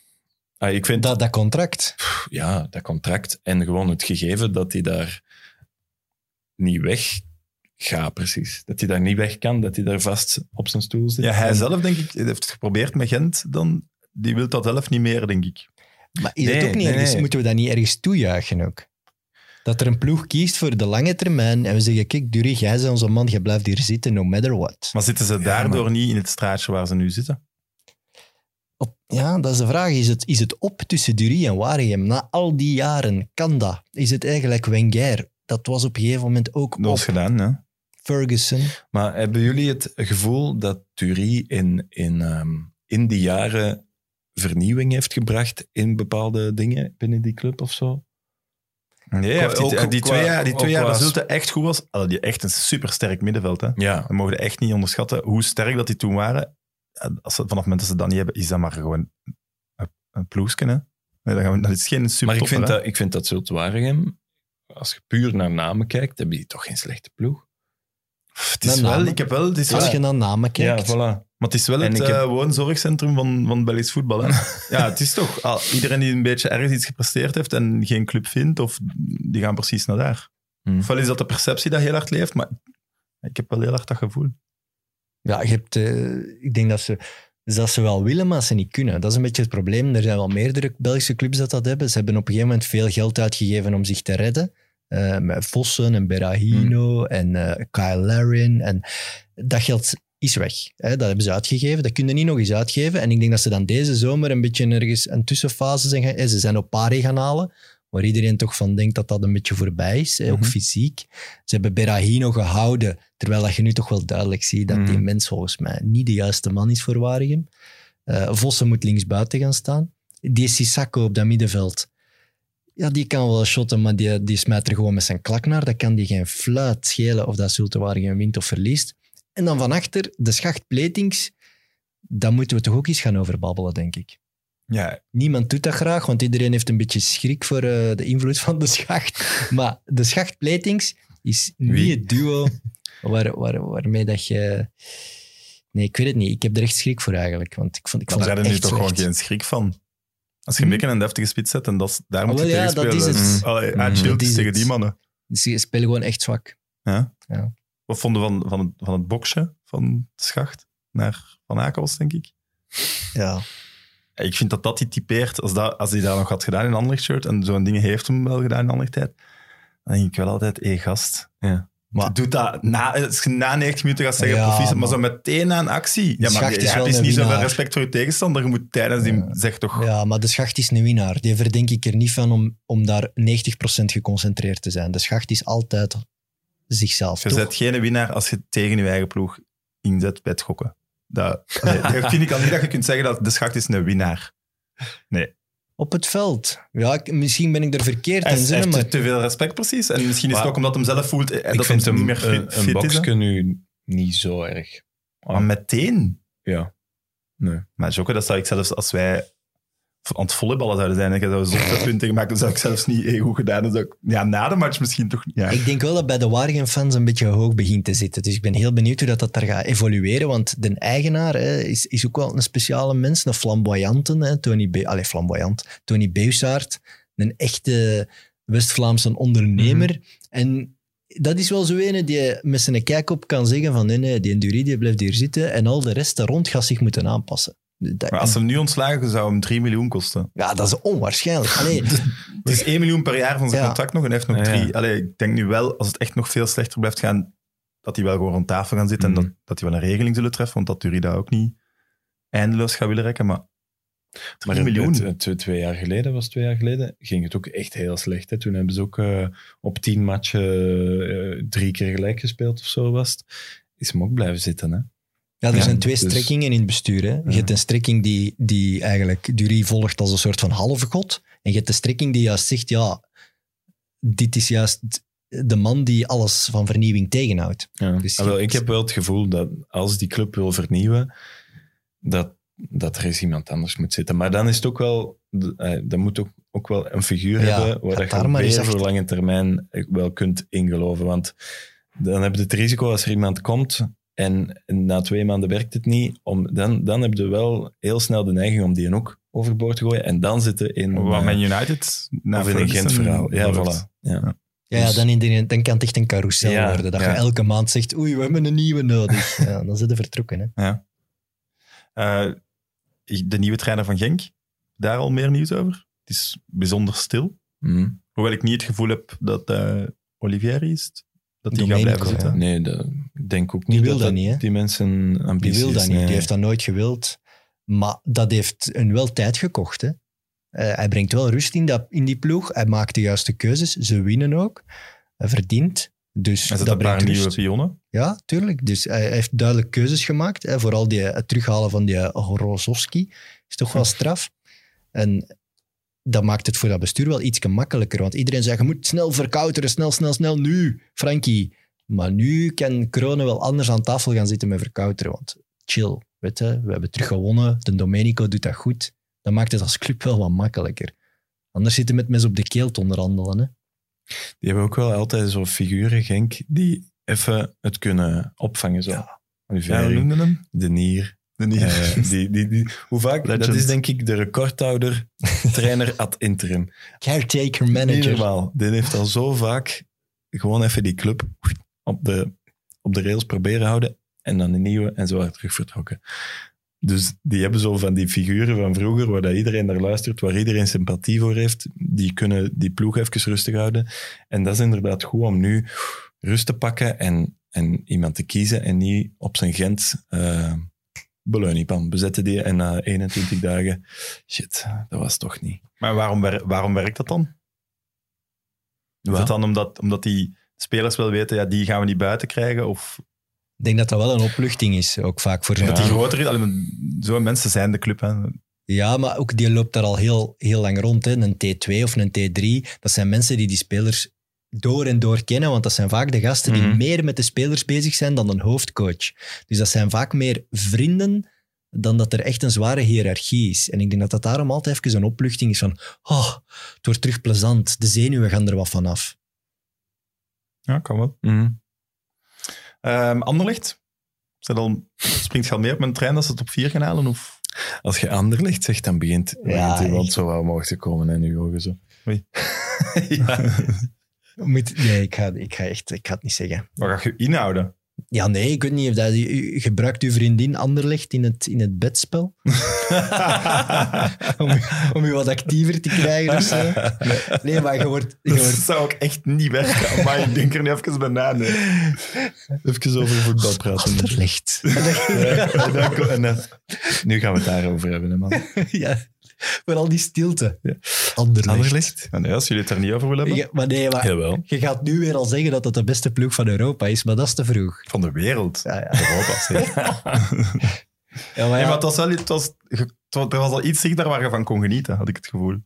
Ah, ik vind Dat, dat contract. ja, dat contract en gewoon het gegeven dat hij daar niet weg gaat, precies. Dat hij daar niet weg kan, dat hij daar vast op zijn stoel zit. Ja, hij En- zelf, denk ik, heeft het geprobeerd met Gent dan. Die wil dat zelf niet meer, denk ik. Maar is Nee, het ook niet nee, ergens, nee. moeten we dat niet ergens toejuichen ook? Dat er een ploeg kiest voor de lange termijn en we zeggen, kijk, Durig, jij bent onze man, je blijft hier zitten, no matter what. Maar zitten ze daardoor niet in het straatje waar ze nu zitten? Op- ja, dat is de vraag. Is het, is het op tussen Durie en Waregem? Na al die jaren, kan dat? Is het eigenlijk Wenger? Dat was op een gegeven moment ook Dat was op gedaan, ja. Ferguson. Maar hebben jullie het gevoel dat Thurie in, in, ehm, in die jaren vernieuwing heeft gebracht in bepaalde dingen binnen die club of zo? Nee, hij heeft die, ook die qua- twee jaar, die twee ook jaar qua- dat Zulte echt goed was, hadden die echt een supersterk middenveld. Hè. Ja. We mogen echt niet onderschatten hoe sterk dat die toen waren. En Als ze, vanaf het moment dat ze dat niet hebben, is dat maar gewoon een, een ploesje, hè. Nee, dat, gaan we, dat is geen super Maar ik vind, dat, ik vind dat Zulte Waregem, als je puur naar namen kijkt, hebben die toch geen slechte ploeg. Het is Met wel, name. ik heb wel... Het is wel Als je naar namen kijkt. voilà. Maar het is wel En het ik heb- eh, woonzorgcentrum van, van Belgisch voetbal. Hè? ja, het is toch. ah, iedereen die een beetje ergens iets gepresteerd heeft en geen club vindt, of die gaan precies naar daar. Hmm. Ofwel is dat de perceptie dat heel hard leeft, maar ik heb wel heel hard dat gevoel. Ja, je hebt, eh, ik denk dat ze, dat ze wel willen, maar ze niet kunnen. Dat is een beetje het probleem. Er zijn wel meerdere Belgische clubs dat dat hebben. Ze hebben op een gegeven moment veel geld uitgegeven om zich te redden. Eh, met Vossen en Berahino en eh, Kyle Larin. En dat geld is weg. Hè? Dat hebben ze uitgegeven. Dat kunnen niet nog eens uitgeven. En ik denk dat ze dan deze zomer een beetje ergens een tussenfase zijn gaan... eh, ze zijn op pari gaan halen. Waar iedereen toch van denkt dat dat een beetje voorbij is. Hè? Ook Mhm. fysiek. Ze hebben Berahino gehouden. Terwijl dat je nu toch wel duidelijk ziet dat Mhm. die mens volgens mij niet de juiste man is voor Waregem. Eh, Vossen moet linksbuiten gaan staan. Die Sissako op dat middenveld. Ja, die kan wel shotten, maar die, die smijt er gewoon met zijn klak naar. Dat kan die geen fluit schelen of dat Zulte Waregem wint of verliest. En dan van achter, de schacht Pletings. Daar moeten we toch ook eens gaan over babbelen, denk ik. Ja, Niemand doet dat graag, want iedereen heeft een beetje schrik voor eh, de invloed van de schacht. (laughs) Maar de schacht Platings is niet Wie? het duo waar, waar, waarmee dat je... Nee, ik weet het niet. Ik heb er echt schrik voor eigenlijk, want ik vond, ik maar vond daar hebben het nu echt toch gewoon slecht. geen schrik van. Als je een beetje een deftige spits zet, en dat, is- daar moet Wel je ja, tegen dat spelen. is het. Hm. Mm. Allee, Mm. ah, chill, Dat het is is tegen het. die mannen. Dus Ze spelen gewoon echt zwak. Ja. Ja. Wat vonden we van, van, het- van het boksje van Schacht naar Van Akels, denk ik? Ja. Ja, Ik vind dat dat die typeert. Als, dat, als hij dat nog had gedaan in een ander shirt, en zo'n dingen heeft hem wel gedaan in een andere tijd, dan denk ik wel altijd, hé gast. Ja. Maar doet dat na, als je na 90 minuten gaat zeggen, Ja, proficiat, maar maar- zo meteen na een actie. Ja, maar Schacht je is wel hebt is een niet winnaar. zoveel respect voor je tegenstander. Je moet tijdens die Ja. zeg toch... ja, maar de schacht is een winnaar. Die verdenk ik er niet van om, om daar 90% geconcentreerd te zijn. De schacht is altijd zichzelf, Je toch? bent geen winnaar als je tegen je eigen ploeg inzet bij het gokken. Dat, nee, (laughs) dat vind ik al niet dat je kunt zeggen dat de schacht is een winnaar. Op het veld. Ja, ik- misschien ben ik er verkeerd Hij in heeft zin, maar... te veel respect precies. En misschien is het Maar- ook omdat hem zelf voelt eh, ik dat hij vind niet hem meer fit, een, een fit is. hè. boxje nu niet zo erg. Maar meteen... Ja. Maar Jokke, dat zou ik zelfs als wij aan het volleyballen zouden zijn en je zou zo'n (laughs) zoveel punten gemaakt, dan zou ik zelfs niet heel goed gedaan. Dan zou ik, ja, na de match misschien toch niet. Ja. Ik denk wel dat bij de Waregem-fans een beetje hoog begint te zitten. Dus ik ben heel benieuwd hoe dat, dat daar gaat evolueren. Want de eigenaar hè, is, is ook wel een speciale mens, een flamboyante. Hè, Tony Be Allee, flamboyant. Tony Beusaert, een echte West-Vlaamse ondernemer. Mhm. En dat is wel zo ene die met zijn kijk op kan zeggen van nee, nee, die Enduri die blijft hier zitten en al de rest daar rond gaat zich moeten aanpassen. Dat- Maar als ze hem nu ontslagen, zou hem 3 miljoen kosten. Ja, dat is onwaarschijnlijk. (laughs) Allee, Het is 1 miljoen per jaar van zijn Ja. contract nog en hij heeft nog Ja, ja. 3. Allee, ik denk nu wel, als het echt nog veel slechter blijft gaan, dat die wel gewoon rond tafel gaan zitten en Mhm. dat, dat die wel een regeling zullen treffen, want dat Turida ook niet eindeloos gaat willen rekken. Maar 3 Maar het- miljoen. het- het- twee- twee jaar geleden was het twee jaar geleden, ging het ook echt heel slecht. Hè? Toen hebben ze ook eh, op tien matchen eh, drie keer gelijk gespeeld of zo was het. Is hem ook blijven zitten. Hè? Ja, er Ja, zijn twee dus- strekkingen in het bestuur. Hè. Je hebt een strekking die, die eigenlijk Dury volgt als een soort van halve god. En je hebt de strekking die juist zegt, ja, dit is juist de man die alles van vernieuwing tegenhoudt. Ja. Dus Ah, wel, je- ik heb wel het gevoel dat als die club wil vernieuwen, dat, dat er eens iemand anders moet zitten. Maar dan is het ook wel, d- eh, dan moet ook, ook wel een figuur Ja, hebben waar gaat dat daar je maar eens weer voor achter- lange termijn wel kunt ingeloven. Want dan heb je het risico als er iemand komt en na twee maanden werkt het niet, om, dan, dan heb je wel heel snel de neiging om die ook overboord te gooien. En dan zitten in, Wat eh, Man United... na of in een Ferguson Gent verhaal. Ja, wordt. voilà. Ja. Ja, Dus- dan, in die- dan kan het echt een carousel Ja, worden. Dat ja. je elke maand zegt, oei, we hebben een nieuwe nodig. (laughs) ja, dan zitten vertrokken. Hè. Eh, de nieuwe trainer van Genk, daar al meer nieuws over. Het is bijzonder stil. Mhm. Hoewel ik niet het gevoel heb dat eh Olivieri is, het, dat die gaat Domenico, blijven ja. zitten. Nee, dat- ik denk ook Die niet dat, wil dat dat niet, hè? die mensen Die ambitie wil dat is, niet, nee. die heeft dat nooit gewild. Maar dat heeft hun wel tijd gekocht. Hè. Eh, hij brengt wel rust in, dat, in die ploeg. Hij maakt de juiste keuzes. Ze winnen ook. Hij verdient. Dus Er zitten dat een paar brengt nieuwe rust. pionnen. Ja, tuurlijk. Dus hij hij heeft duidelijk keuzes gemaakt. Hè. Vooral die, het terughalen van die Horozovski is toch wel straf. En dat maakt het voor dat bestuur wel iets makkelijker. Want iedereen zei, je moet snel verkouteren, snel, snel, snel, nu, Frankie. Maar nu kan Kronen wel anders aan tafel gaan zitten met verkouteren. Want chill, weet je, we hebben terug gewonnen. De Domenico doet dat goed. Dat maakt het als club wel wat makkelijker. Anders zitten we met mensen op de keel te onderhandelen. Hè. Die hebben ook wel altijd zo'n figuren, Genk, die even het kunnen opvangen. Zo. Ja. Ja, we noemden hem. de Nier. De nieuwe. eh, die, die, die, hoe (laughs) vaak? Dat Legend. is denk ik de recordhouder trainer ad interim. Caretaker Niet manager. normaal. Die heeft al zo vaak gewoon even die club op de, op de rails proberen houden en dan de nieuwe en zo hard terug vertrokken. Dus die hebben zo van die figuren van vroeger, waar dat iedereen naar luistert, waar iedereen sympathie voor heeft, die kunnen die ploeg even rustig houden. En dat is inderdaad goed om nu rust te pakken en, en iemand te kiezen en niet op zijn Gent eh beleuniepan bezetten die en na 21 dagen, shit, dat was toch niet. Maar waarom, wer- waarom werkt dat dan? Is Wel. dat dan omdat, omdat die spelers wel weten, ja, die gaan we niet buiten krijgen? Of Ik denk dat dat wel een opluchting is, ook vaak voor dat zo'n die ploeg. groter is? Alleen, Zo'n mensen zijn de club. Hè. Ja, maar ook die loopt daar al heel, heel lang rond. Hè. Een T2 of een T3, dat zijn mensen die die spelers door en door kennen, want dat zijn vaak de gasten die Mhm. meer met de spelers bezig zijn dan een hoofdcoach. Dus dat zijn vaak meer vrienden dan dat er echt een zware hiërarchie is. En ik denk dat dat daarom altijd even een opluchting is van oh, het wordt terug plezant, de zenuwen gaan er wat van af. Ja, kan wel. Ehm Anderlecht? Is dat al, springt je al meer op mijn trein dat ze het op vier gaan halen? Of? Als je Anderlecht zegt, dan begint, Ja, begint iemand echt. zo wel omhoog te komen in uw ogen. Zo. Moet, nee, ik ga, ik ga echt ik ga het niet zeggen. Wat ga je inhouden? Ja, nee, ik weet niet of dat... u- u Gebruikt uw vriendin Anderlecht in het, in het bedspel? (laughs) om, u- om u wat actiever te krijgen of zo? Nee, maar je wordt... Je Dat wordt zou ook echt niet werken, maar ik denk er nu even bij na. nee. Even over voetbal praten. Anderlecht. (laughs) Ja, en dan ko- en dan- nu gaan we het daarover hebben, hè, man. (laughs) ja, vooral die stilte. Ja. Anderlecht. Anderlecht? Ja, nee, als jullie het er niet over willen hebben. Ja, maar nee, maar (laughs) Jawel. je gaat nu weer al zeggen dat het de beste ploeg van Europa is, maar dat is te vroeg. Van de wereld. Ja, ja. Europa, zeg. Ja, maar Nee, ja, maar het was wel, het was, ge- het was- er was al iets zichtbaar waar je van kon genieten, had ik het gevoel.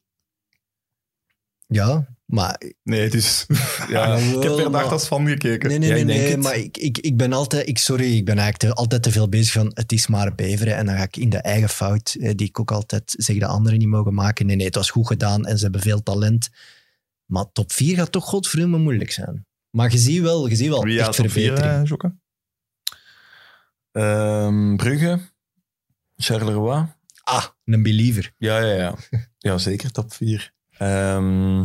ja, maar Nee, dus... (laughs) Ja, Ja, ik heb wel, er maar- dag als fan gekeken. Nee, nee, Ja, nee, ik denk nee, het. maar ik, ik, ik ben altijd, ik, sorry, ik ben eigenlijk te- altijd te veel bezig van het is maar beveren en dan ga ik in de eigen fout, eh, die ik ook altijd zeg de anderen niet mogen maken. Nee, nee, het was goed gedaan en ze hebben veel talent. Maar top 4 gaat toch godverdomme moeilijk zijn. Maar je ziet wel, je ziet wel Wie echt had er verbetering. vier, eh, Jokke? Ehm, Brugge, Charleroi. ah, een believer. Ja, ja, ja. Ja, zeker top 4. Ehm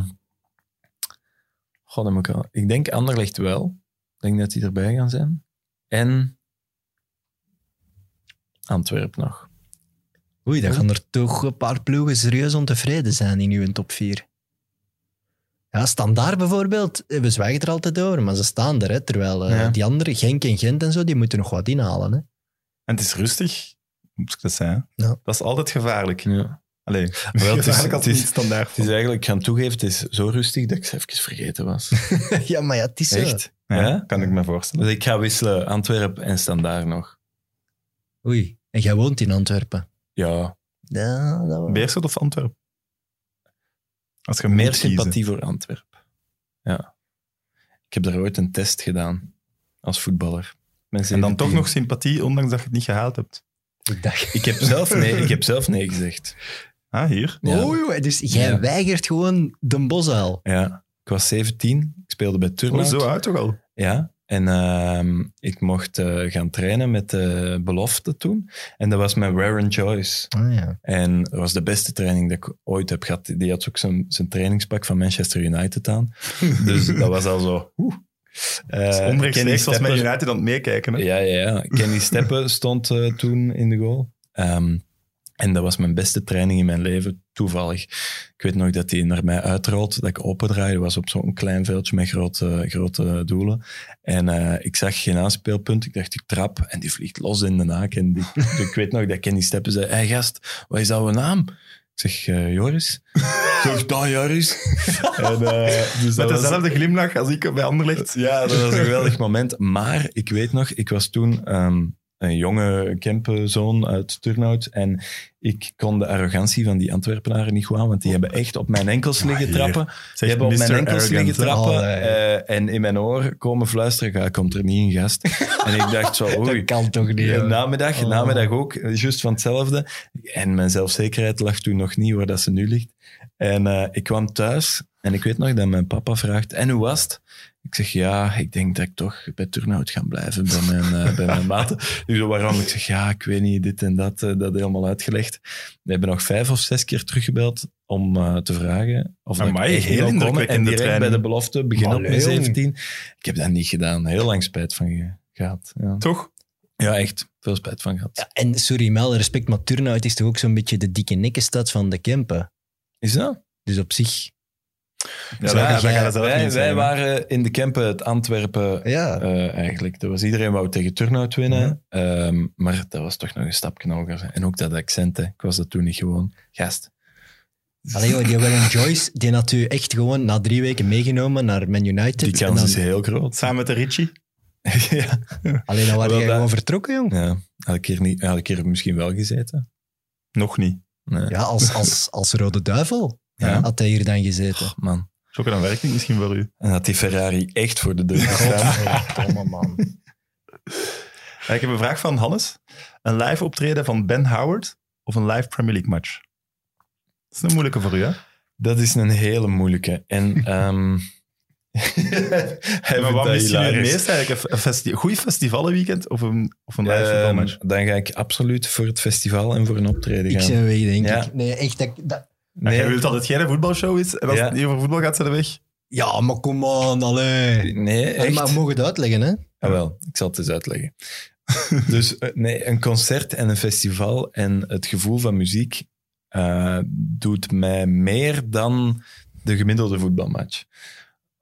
goh, dan moet ik, wel- ik denk Anderlecht wel. Ik denk dat die erbij gaan zijn. En Antwerpen nog. Oei, dan gaan er toch een paar ploegen serieus ontevreden zijn in uw top 4. Ja, Standaard bijvoorbeeld, eh, we zwijgen er altijd over, maar ze staan er, hè, terwijl eh, Ja. die anderen, Genk en Gent en zo, die moeten nog wat inhalen. Hè. En het is rustig, moet ik dat zeggen. Ja. Dat is altijd gevaarlijk. Ja. Allee, is- (laughs) gevaarlijk als het het is- niet standaard Het is eigenlijk, ik ga het toegeven, het is zo rustig dat ik ze even vergeten was. (laughs) ja, maar ja, het is zo. Echt? Ja, (laughs) Ja? kan ik me voorstellen. Dus ik ga wisselen Antwerpen en Standaard nog. Oei, en jij woont in Antwerpen. Ja, Ja, dat wel. Beerschot of Antwerpen? Als je meer moet kiezen. sympathie voor Antwerpen. Ja. Ik heb daar ooit een test gedaan als voetballer. Mensen En dan toch nog sympathie, ondanks dat je het niet gehaald hebt. Ik dacht... Ik heb zelf nee, ik heb (laughs) zelf nee gezegd. Ah, hier. Ja. Oh, joh, dus jij Ja. weigert gewoon de bosuil. Ja, ik was 17. Ik speelde bij Oh, Turnhout. zo uit toch al? Ja, en ehm, ik mocht eh, gaan trainen met de belofte toen. En dat was mijn Rare and Joyce. Ah, ja. En dat was de beste training dat ik ooit heb gehad. Die had ook zijn, zijn trainingspak van Manchester United aan. Dus dat was al zo... Oeh. Uh, Eh, Onrechtstreeks was Stepper- met United aan het meekijken. hè. Ja, ja, ja. Kenny Steppen stond eh, toen in de goal. Ehm, en dat was mijn beste training in mijn leven, toevallig. Ik weet nog dat hij naar mij uitrolt, dat ik opendraaide. was op zo'n klein veldje met grote, grote doelen. En eh, ik zag geen aanspeelpunt. Ik dacht, ik trap. En die vliegt los in de naak. En die, ik weet nog dat Kenny Steppen zei, hey gast, wat is jouw naam? Ik zeg, eh, Joris. Ik zeg, daar Joris. en, eh, dus Met dat was- dezelfde glimlach als ik bij Anderlecht. ja, dat was een geweldig moment. Maar ik weet nog, ik was toen ehm, een jonge Kempenzoon uit Turnhout. En ik kon de arrogantie van die Antwerpenaren niet goed aan. Want die hebben echt op mijn enkels liggen Ah, hier. trappen. Die Zegt hebben op mijn Mr. enkels Arrogant, liggen hè. trappen. Oh, nee. eh, en in mijn oor komen fluisteren. Ja, komt er niet een gast. en ik (laughs) dacht zo, oei. Dat kan toch niet, Ja, nou. joh. namiddag, Oh. namiddag ook, eh, juist van hetzelfde. En mijn zelfzekerheid lag toen nog niet waar dat ze nu ligt. En eh, ik kwam thuis en ik weet nog dat mijn papa vraagt, en hoe was het? Ik zeg, ja, ik denk dat ik toch bij Turnhout ga blijven, bij mijn, eh, bij (laughs) mijn maten. Die zo, waarom? Ik zeg, ja, ik weet niet, dit en dat, eh, dat helemaal uitgelegd. We hebben nog vijf of zes keer teruggebeld om eh, te vragen of dat Amai, ik echt heel wou komen. En indrukwekkende direct bij training. de belofte, begin op mijn Allee, jong. 17. Ik heb dat niet gedaan, heel lang spijt van ge- gehad. Ja. Toch? Ja, echt. Veel spijt van gehad. Ja, en sorry, met alle respect, maar Turnhout is toch ook zo'n beetje de dikke nekkenstad van de Kempen. Is dat? Dus op zich... Ja, Zou dat, dat jij- gaat dat zelf wij niet wij zeggen. waren in de Kempen het Antwerpen Ja. eh, eigenlijk. Dat was, iedereen wou tegen Turnhout winnen. Mhm. Ehm, maar dat was toch nog een stapje hoger. En ook dat accent, hè. ik was dat toen niet gewoon. Gast. Allee, joh, die Warren Joyce, die had u echt gewoon na drie weken meegenomen naar Man United. Die kans En is dan, heel groot. (laughs) Samen met de Richie. ja. Alleen dan waren Wel, jij dat- gewoon vertrokken, jong. ja. Had ik, hier niet, had ik hier misschien wel gezeten. Nog niet. Nee. Ja, als, als, als rode duivel Ja. had hij hier dan gezeten. Och, man. Jokke, dan werkt het misschien voor u. En had die Ferrari echt voor de deur gestaan. Godverdomme, man. Eh, Ik heb een vraag van Hannes. Een live optreden van Ben Howard of een live Premier League match? Dat is een moeilijke voor u, hè? (laughs) Dat is een hele moeilijke. (laughs) En, ehm (laughs) Hij maar vindt wat dat mist jullie het hilarisch. meest eigenlijk? Een, festi- een goed festivalenweekend of een, of een live Ehm, voetbalmatch? dan ga ik absoluut voor het festival en voor een optreden Ik gaan. zijn weg, denk Ja. ik. Nee, echt. Dat, dat- Nee. nee, Jij wilt dat het geen voetbalshow is en als Ja. het niet over voetbal gaat, zijn de weg. Ja, maar kom on, allee. nee, echt. Maar we mogen het uitleggen, hè? Ah, wel, ik zal het eens (laughs) uitleggen. dus eh, nee, een concert en een festival en het gevoel van muziek eh, doet mij meer dan de gemiddelde voetbalmatch.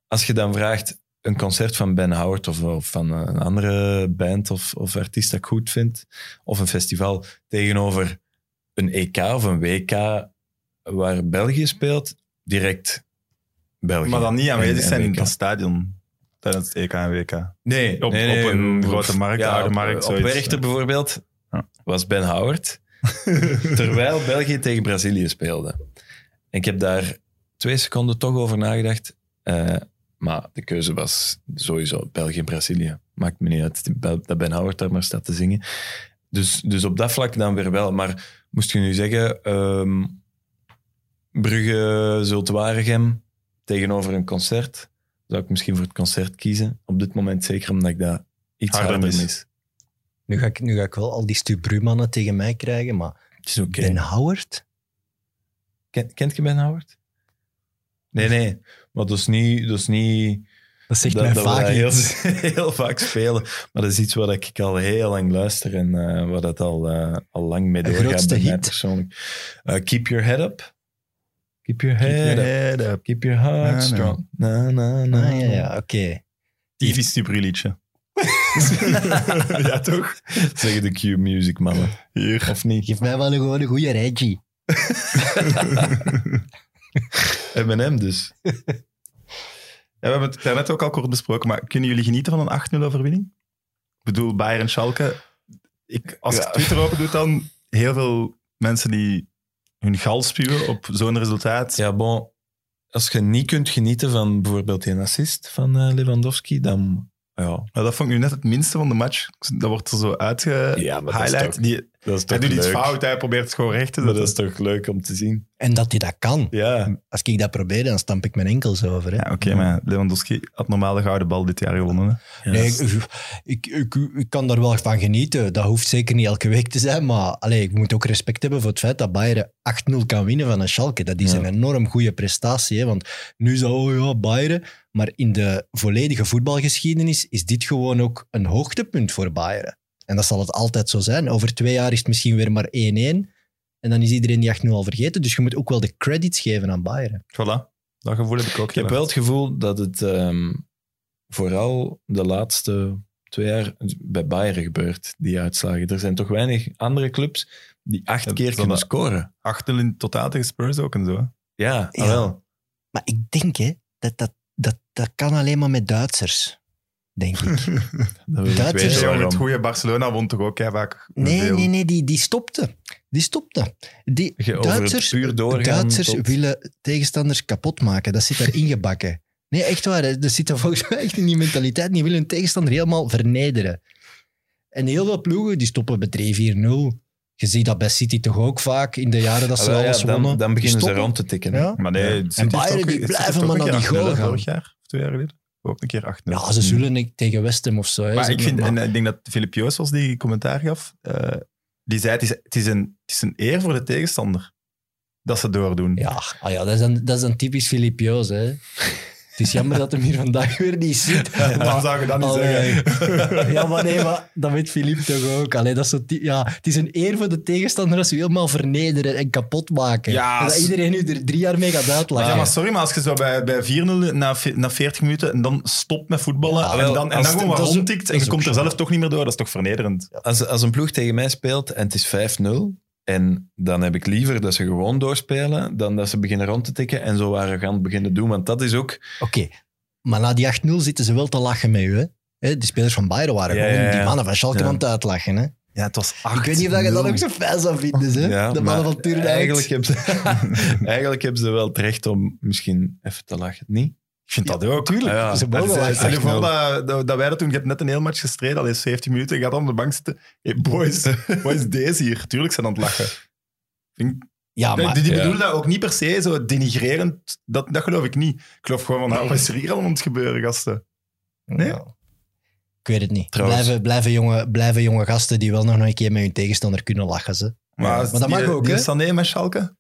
Als je dan vraagt een concert van Ben Howard of, of van een andere band of, of artiest dat ik goed vind, of een festival tegenover een EK of een WK waar België speelt, direct België. Maar dan niet En- aanwezig en zijn in WK. dat stadion tijdens het EK en WK. Nee, Op- nee, nee, op een op- grote markt, oude op- markt, Op zoiets. Werchter bijvoorbeeld Ja. was Ben (laughs) Howard. terwijl België tegen Brazilië speelde. En ik heb daar twee seconden toch over nagedacht. eh, maar de keuze was sowieso België-Brazilië. Maakt me niet uit Bel- dat Ben Howard daar maar staat te zingen. Dus, dus op dat vlak dan weer wel. Maar moest je nu zeggen, ehm, Brugge, Zult Waregem tegenover een concert, zou ik misschien voor het concert kiezen. Op dit moment zeker omdat ik dat iets Harder harder, mis. mis. Nu ga, ik, nu ga ik wel al die Stubru-mannen tegen mij krijgen, maar Het is oké. Ben Howard? Ken- kent je Ben Howard? Nee, nee. Maar dat is niet... Dat is niet Dat zegt dat, mij dat we dat vaak heel, iets. (laughs) heel vaak spelen. Maar dat is iets wat ik al heel lang luister en eh wat dat al, eh, al lang mee De doorgaat grootste bij mij hit. persoonlijk. Eh, keep your head up. Keep your head up. Keep your heart Na, na. strong. Na, na, na. Ah, ja, (laughs) ja, oké. TV-stubru-liedje. ja, toch? Zeggen de Q-music mannen. Hier. Of niet? Geef mij wel een, gewoon een goede Reggie. M&M dus. Ja, we hebben het daarnet ook al kort besproken, maar kunnen jullie genieten van een 8-0 overwinning? Ik bedoel, Bayern Schalke, ik, als Ja. ik Twitter open doe, dan heel veel mensen die hun gal spuwen op zo'n resultaat. Ja, bon. Als je niet kunt genieten van bijvoorbeeld die assist van eh, Lewandowski, dan... Ja, Maar dat vond ik nu net het minste van de match. Dat wordt er zo uitgehighlight. ja maar die dat is toch hij doet iets leuk. fout, hij probeert het gewoon recht te Maar zetten. dat is toch leuk om te zien. En dat hij dat kan. Ja. Als ik dat probeer, dan stamp ik mijn enkels over. Hè. Ja, oké, maar Lewandowski had normaal de gouden bal dit jaar gewonnen. hè. Nee, ik, ik, ik, ik kan daar wel van genieten. Dat hoeft zeker niet elke week te zijn. Maar allee, ik moet ook respect hebben voor het feit dat Bayern 8-0 kan winnen van een Schalke. Dat is Ja. een enorm goede prestatie. Hè? Want nu zou oh ja, Bayern. Maar in de volledige voetbalgeschiedenis is dit gewoon ook een hoogtepunt voor Bayern. En dat zal het altijd zo zijn. Over twee jaar is het misschien weer maar 1-1. En dan is iedereen die 8-0 al vergeten. Dus je moet ook wel de credits geven aan Bayern. Voilà, dat gevoel heb ik ook. Ik heb gehad. wel het gevoel dat het ehm, vooral de laatste twee jaar bij Bayern gebeurt, die uitslagen. Er zijn toch weinig andere clubs die acht Ja, keer zo kunnen dat- scoren. Acht nul in totaal tegen Spurs ook en zo. hè. Ja, Ja. ah wel. Maar ik denk hè, dat, dat, dat dat kan alleen maar met Duitsers. Denk ik. Dat wil ik Dat weten is- Ja, maar het waarom. goede Barcelona won toch ook hè, vaak. Nee, veel. nee, nee, die, die stopte. Die stopte. Die Je over het Duitsers, puur doorgaan Duitsers tot- willen tegenstanders kapot maken. Dat (laughs) zit daar ingebakken. Nee, echt waar. hè. Dat zit er volgens mij echt in die mentaliteit. Die willen hun tegenstander helemaal vernederen. En heel veel ploegen die stoppen bij 3-4-0. Je ziet dat bij City toch ook vaak in de jaren dat ze Ah, wel, ja, alles wonnen. dan, dan beginnen Die ze stoppen. rond te tikken. hè. Ja. Maar nee, City En heeft Bayern ook- die City blijven heeft ook maar een naar keer 8-0 die goal hè, gaan. Vorig jaar, of twee jaar geleden. Ook een keer 8-0. ja, Hmm. ze zullen niet tegen West Ham of zo. hè. Maar Ze- ik, vind, maar- en ik denk dat Filip Joos was die commentaar gaf. eh, die zei, het is, het, is een, het is een eer voor de tegenstander dat ze doordoen. Ja, ah ja dat, is een, dat is een typisch Filip Joos, hè. Het is jammer dat hem hier vandaag weer (laughs) niet zit. Dan Maar, zou je (laughs) dat niet Allee. zeggen. (laughs) ja, maar nee, maar dat weet Filip toch ook. Allee, dat is zo ty- ja, het is een eer voor de tegenstander als ze je helemaal vernederen en kapot maken. Ja, En dat s- iedereen nu er drie jaar mee gaat uitlachen. Ja, maar sorry, maar als je zo bij, bij 4-0 na, ve- na 40 minuten en dan stopt met voetballen Ja, en wel, dan, en als dan het- gewoon wat dat is- rondtikt en dat je is ook komt er zo. zelf toch niet meer door, dat is toch vernederend? Als, als een ploeg tegen mij speelt en het is 5-0, en dan heb ik liever dat ze gewoon doorspelen dan dat ze beginnen rond te tikken en zo arrogant beginnen doen. Want dat is ook... Oké, maar na die 8-0 zitten ze wel te lachen met je, hè. Hè, Die spelers van Bayern waren Ja, gewoon ja, ja. die mannen van Schalke Ja. aan het uitlachen. Hè? Ja, het was Ik weet niet of dat je dat ook zo fijn zou vinden, hè? Ja, de maar mannen van Turijn. Eigenlijk hebben, ze, eigenlijk hebben ze wel het recht om misschien even te lachen, niet? Ik vind dat ook. Tuurlijk, Ah, ja. ze mogen Dat wel is- lachen. Stel je 8-0. voor dat, dat, dat wij dat toen, je hebt net een heel match gestreden, al is 17 minuten, je gaat dan op de bank zitten. Hey, boys, (laughs) wat is deze hier? Tuurlijk zijn aan het lachen. Vind ik- Ja, Ah, maar die die ja. bedoelen dat ook niet per se zo denigrerend, dat, dat geloof ik niet. Ik geloof gewoon van, nou, wat is er hier allemaal aan het gebeuren, gasten? Nee? Ja. Ik weet het niet. Trouwens. Blijven, blijven, jonge, blijven jonge gasten die wel nog een keer met hun tegenstander kunnen lachen. Ze. Maar, Maar dat die- mag ook, die hè? Sané met Schalke?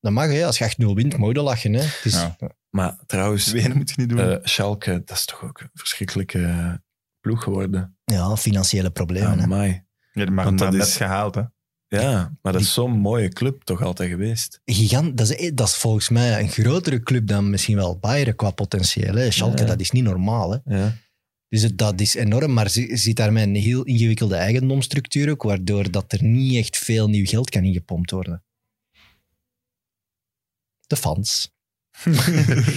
Dat mag, hè. Als je 8-0 wint, mooi dan lachen. Hè. Het is, Ja. Maar trouwens, Zweden moet je niet doen. eh, Schalke, dat is toch ook een verschrikkelijke ploeg geworden. Ah, ja, financiële problemen. hè. Amai. ja, maar want dat dat net is- gehaald, hè? (laughs) Ja, maar dat is zo'n mooie club toch altijd geweest. Gigant, dat, is, dat is volgens mij een grotere club dan misschien wel Bayern qua potentieel. Hè. Schalke, Ja. dat is niet normaal. Hè. Ja. Dus het- dat is enorm, maar ze- zit daarmee een heel ingewikkelde eigendomsstructuur ook, waardoor dat er niet echt veel nieuw geld kan ingepompt worden. De fans.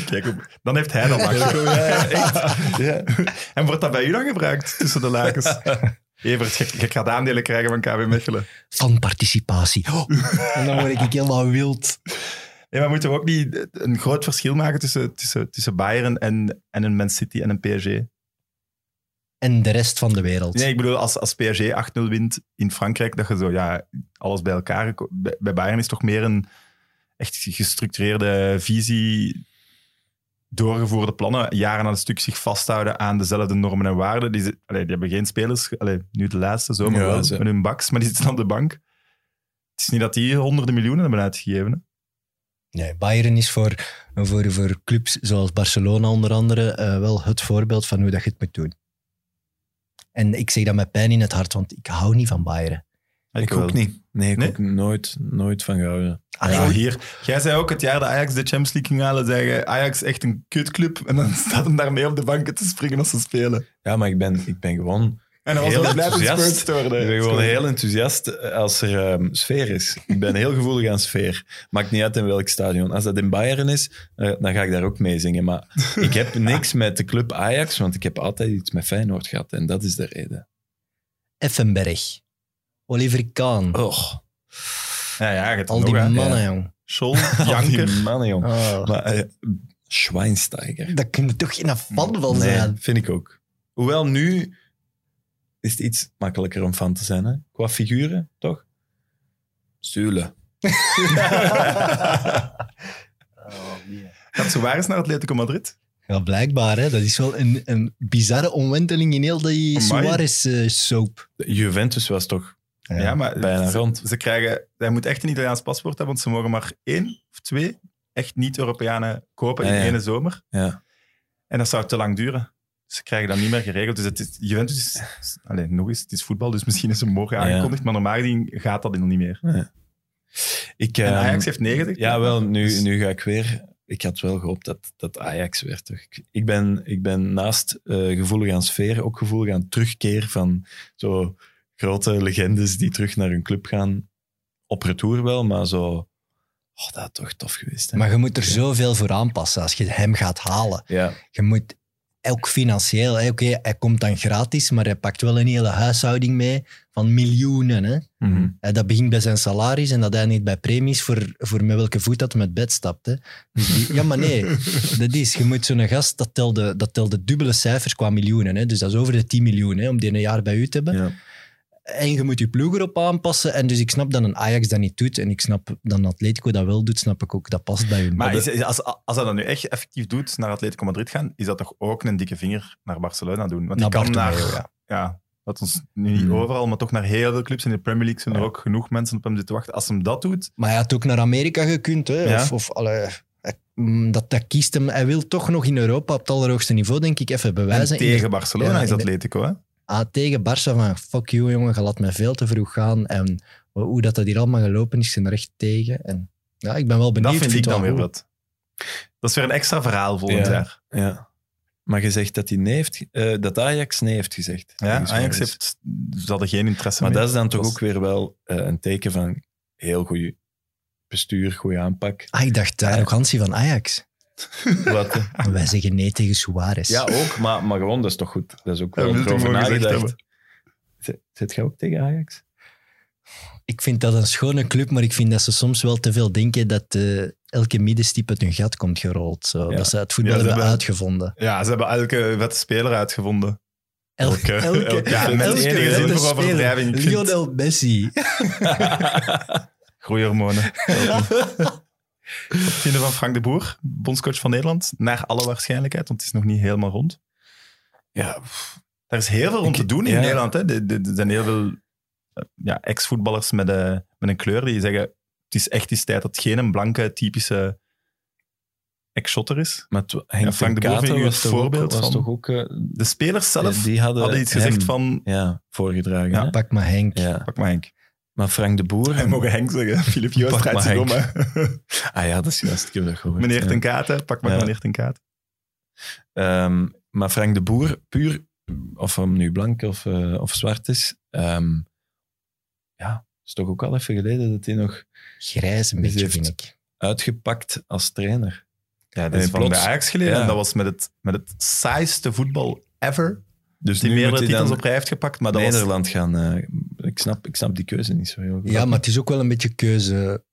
Kijk, op- dan heeft hij dat makkelijk. ja, echt. En wordt dat bij u dan gebruikt, tussen de (laughs) lakens? Evert, je, je gaat aandelen krijgen van KB Mechelen. Fanparticipatie. participatie. en dan word ik helemaal wild. Nee, maar moeten we ook niet een groot verschil maken tussen, tussen, tussen Bayern en, en een Man City en een PSG? en de rest van de wereld. Nee, ik bedoel, als, als PSG 8-0 wint in Frankrijk, dat je zo, ja, alles bij elkaar... Bij, bij Bayern is toch meer een echt gestructureerde visie, doorgevoerde plannen, jaren aan een stuk zich vasthouden aan dezelfde normen en waarden. Die, ze- allee, die hebben geen spelers, allee, nu de laatste zo, maar Ja, wel, ze- met hun baks, maar die zitten aan de bank. Het is niet dat die honderden miljoenen hebben uitgegeven. hè. Nee, Bayern is voor, voor, voor clubs zoals Barcelona onder andere eh, wel het voorbeeld van hoe dat je het moet doen. En ik zeg dat met pijn in het hart, want ik hou niet van Bayern. Ik ook niet. Nee, ik Nee? ook nooit, nooit van gehouden. Allee, Ah, ja, hier. Jij zei ook het jaar dat Ajax de Champions League ging halen, zeggen Ajax echt een kutclub. En dan (laughs) staat hem daarmee op de banken te springen als ze spelen. Ja, maar ik ben, ik ben gewoon, En dan was Heel hij blij dat enthousiast. Spurs stoorde. ik ben gewoon heel enthousiast als er ehm, sfeer is. Ik ben heel gevoelig aan sfeer. Maakt niet uit in welk stadion. Als dat in Bayern is, eh, dan ga ik daar ook mee zingen. (laughs) Maar ik heb niks met de club Ajax, want ik heb altijd iets met Feyenoord gehad. En dat is de reden. Effenberg. Oliver Kahn. Oh, Ja, ja, je hebt Al nog, die hè. mannen, jong. Schol, (laughs) janker. Janker. mannen, jong. Oh, Maar eh, Schweinsteiger. daar kun je toch geen fan van (laughs) Nee, zijn. (laughs) vind ik ook. Hoewel nu is het iets makkelijker om fan te zijn, hè? Qua figuren, toch? Zule. Dat ze waar is naar Atletico Madrid. Ja, blijkbaar. Hè. Dat is wel een, een bizarre omwenteling in heel die eh, Amai. Suarez-soap. Juventus was toch Ja, maar bijna ze, rond. ze krijgen... Hij moet echt een Italiaans paspoort hebben, want ze mogen maar één of twee echt niet-Europeanen kopen Ja, in ja. één zomer. Ja. En dat zou te lang duren. Ze krijgen dat niet meer geregeld. Dus het is, Juventus is... Alleen, nog eens, het is voetbal, dus misschien is ze morgen Ja. aangekondigd, maar normaal gezien gaat dat nog niet meer. Ik, En ehm, Ajax heeft 90. Ja, wel, nu, Dus- nu ga ik weer. Ik had wel gehoopt dat, dat Ajax werd. toch? Ik, ik, ben, ik ben naast eh, gevoelig aan sfeer ook gevoelig aan terugkeer van zo grote legendes die terug naar hun club gaan. Op retour wel, maar zo. Oh, dat had toch tof geweest. Hè? Maar je moet er zoveel voor aanpassen als je hem gaat halen. ja, Je moet ook financieel, hè. oké, hij komt dan gratis, maar hij pakt wel een hele huishouding mee van miljoenen. Hè. Hè, Dat begint bij zijn salaris en dat eindigt bij premies voor, voor met welke voet dat met bed stapt. Hè. Dus die- ja, maar nee, (laughs) dat is, je moet zo'n gast, dat telde, dat telde dubbele cijfers qua miljoenen. Hè. Dus dat is over de 10 miljoen hè, om die een jaar bij u te hebben. ja. En je moet je ploeg erop aanpassen. En dus ik snap dat een Ajax dat niet doet. En ik snap dat een Atletico dat wel doet, snap ik ook. Dat past bij hun. Maar is- is- als, als dat dan nu echt effectief doet, naar Atletico Madrid gaan, is dat toch ook een dikke vinger naar Barcelona doen? Want die Naar kan naar... Bartomeu, Mhm. Ja, dat ons nu niet Hmm. overal, maar toch naar heel veel clubs in de Premier League zijn er ook genoeg mensen op hem zitten wachten. Als hem dat doet, Maar hij had ook naar Amerika gekund. Hè? Ja. Of, of allee, hij- mm, dat, dat kiest hem. Hij wil toch nog in Europa op het allerhoogste niveau, denk ik, even en bewijzen. In tegen de- Barcelona ja, is in de- Atletico, hè? ah, tegen Barça van fuck you, jongen, je laat mij veel te vroeg gaan. En hoe- hoe dat, dat hier allemaal gelopen is, ik ben er echt tegen. En, ja, ik ben wel benieuwd. Dat vind ik het dan wel weer goed. wat. Dat is weer een extra verhaal volgend Ja. jaar. ja. Maar je zegt dat, hij nee heeft, ge- eh, dat Ajax nee heeft gezegd. Ja, Volgens mij dus. Ajax is- heeft, ze hadden geen interesse Maar meer. dat is dan toch Dat is- ook weer wel eh, een teken van heel goed bestuur, goede aanpak. (laughs) Ah, ik dacht, de arrogantie van Ajax. Wat, eh, Ah. En wij zeggen nee tegen Suarez. Ja, ook, maar, maar gewoon, dat is toch goed. Dat is ook Ja, wel we moeten over het gewoon gezegd nagedacht. Zit- Zit jij ook tegen Ajax? Ik vind dat een schone club, maar ik vind dat ze soms wel te veel denken dat eh, elke middenstip uit hun gat komt gerold. Zo. Ja. Dat ze het voetbal Ja, ze hebben hebben- uitgevonden. Ja, ze hebben elke vette speler uitgevonden. Elke, elke, elke- ja, met elke enige zin vette voor overdrijving. Ik vind- Lionel Messi. Groeihormonen. Wat vinden van Frank de Boer, bondscoach van Nederland? Naar alle waarschijnlijkheid, want het is nog niet helemaal rond. Ja, Er is heel veel om Ik- te doen in ja. Nederland. Hè. Er, er- er zijn heel veel eh, ja, ex-voetballers met, eh, met een kleur die zeggen: Het is echt eens tijd dat geen een blanke, typische ex-shotter is. maar het- Henk Ja, Frank ten de Boer Katen vind ik was een toch ook- voorbeeld was van- toch ook... eh, De spelers zelf die eh, hadden, hadden iets hem, gezegd van: Ja, voorgedragen. Ja. hè? Pak maar Henk. Ja. Pak maar Henk. Maar Frank de Boer... En mogen Henk (laughs) zeggen: Filip Joost Pak draait maar zich om. Henk. hè. Ah ja, dat is juist. Ik heb dat (laughs) gehoord. meneer ja. Ten Katen, pak maar Ja. meneer Ten Katen. Ehm, maar Frank de Boer, puur, of hem nu blank of, eh, of zwart is, ehm, ja, het is toch ook al even geleden dat hij nog Grijs een Dus beetje, heeft- vind ik. uitgepakt als trainer. Ja, dat Nee, is van de plots. Ajax geleden. Ja. En dat was met het, met het saaiste voetbal ever. Dus Die nu meerdere moet hij titels dan op rij heeft gepakt. Maar dat was Nederland gaan... eh, ik, snap, ik snap die keuze niet zo heel goed. Ja, maar het is ook wel een beetje keuze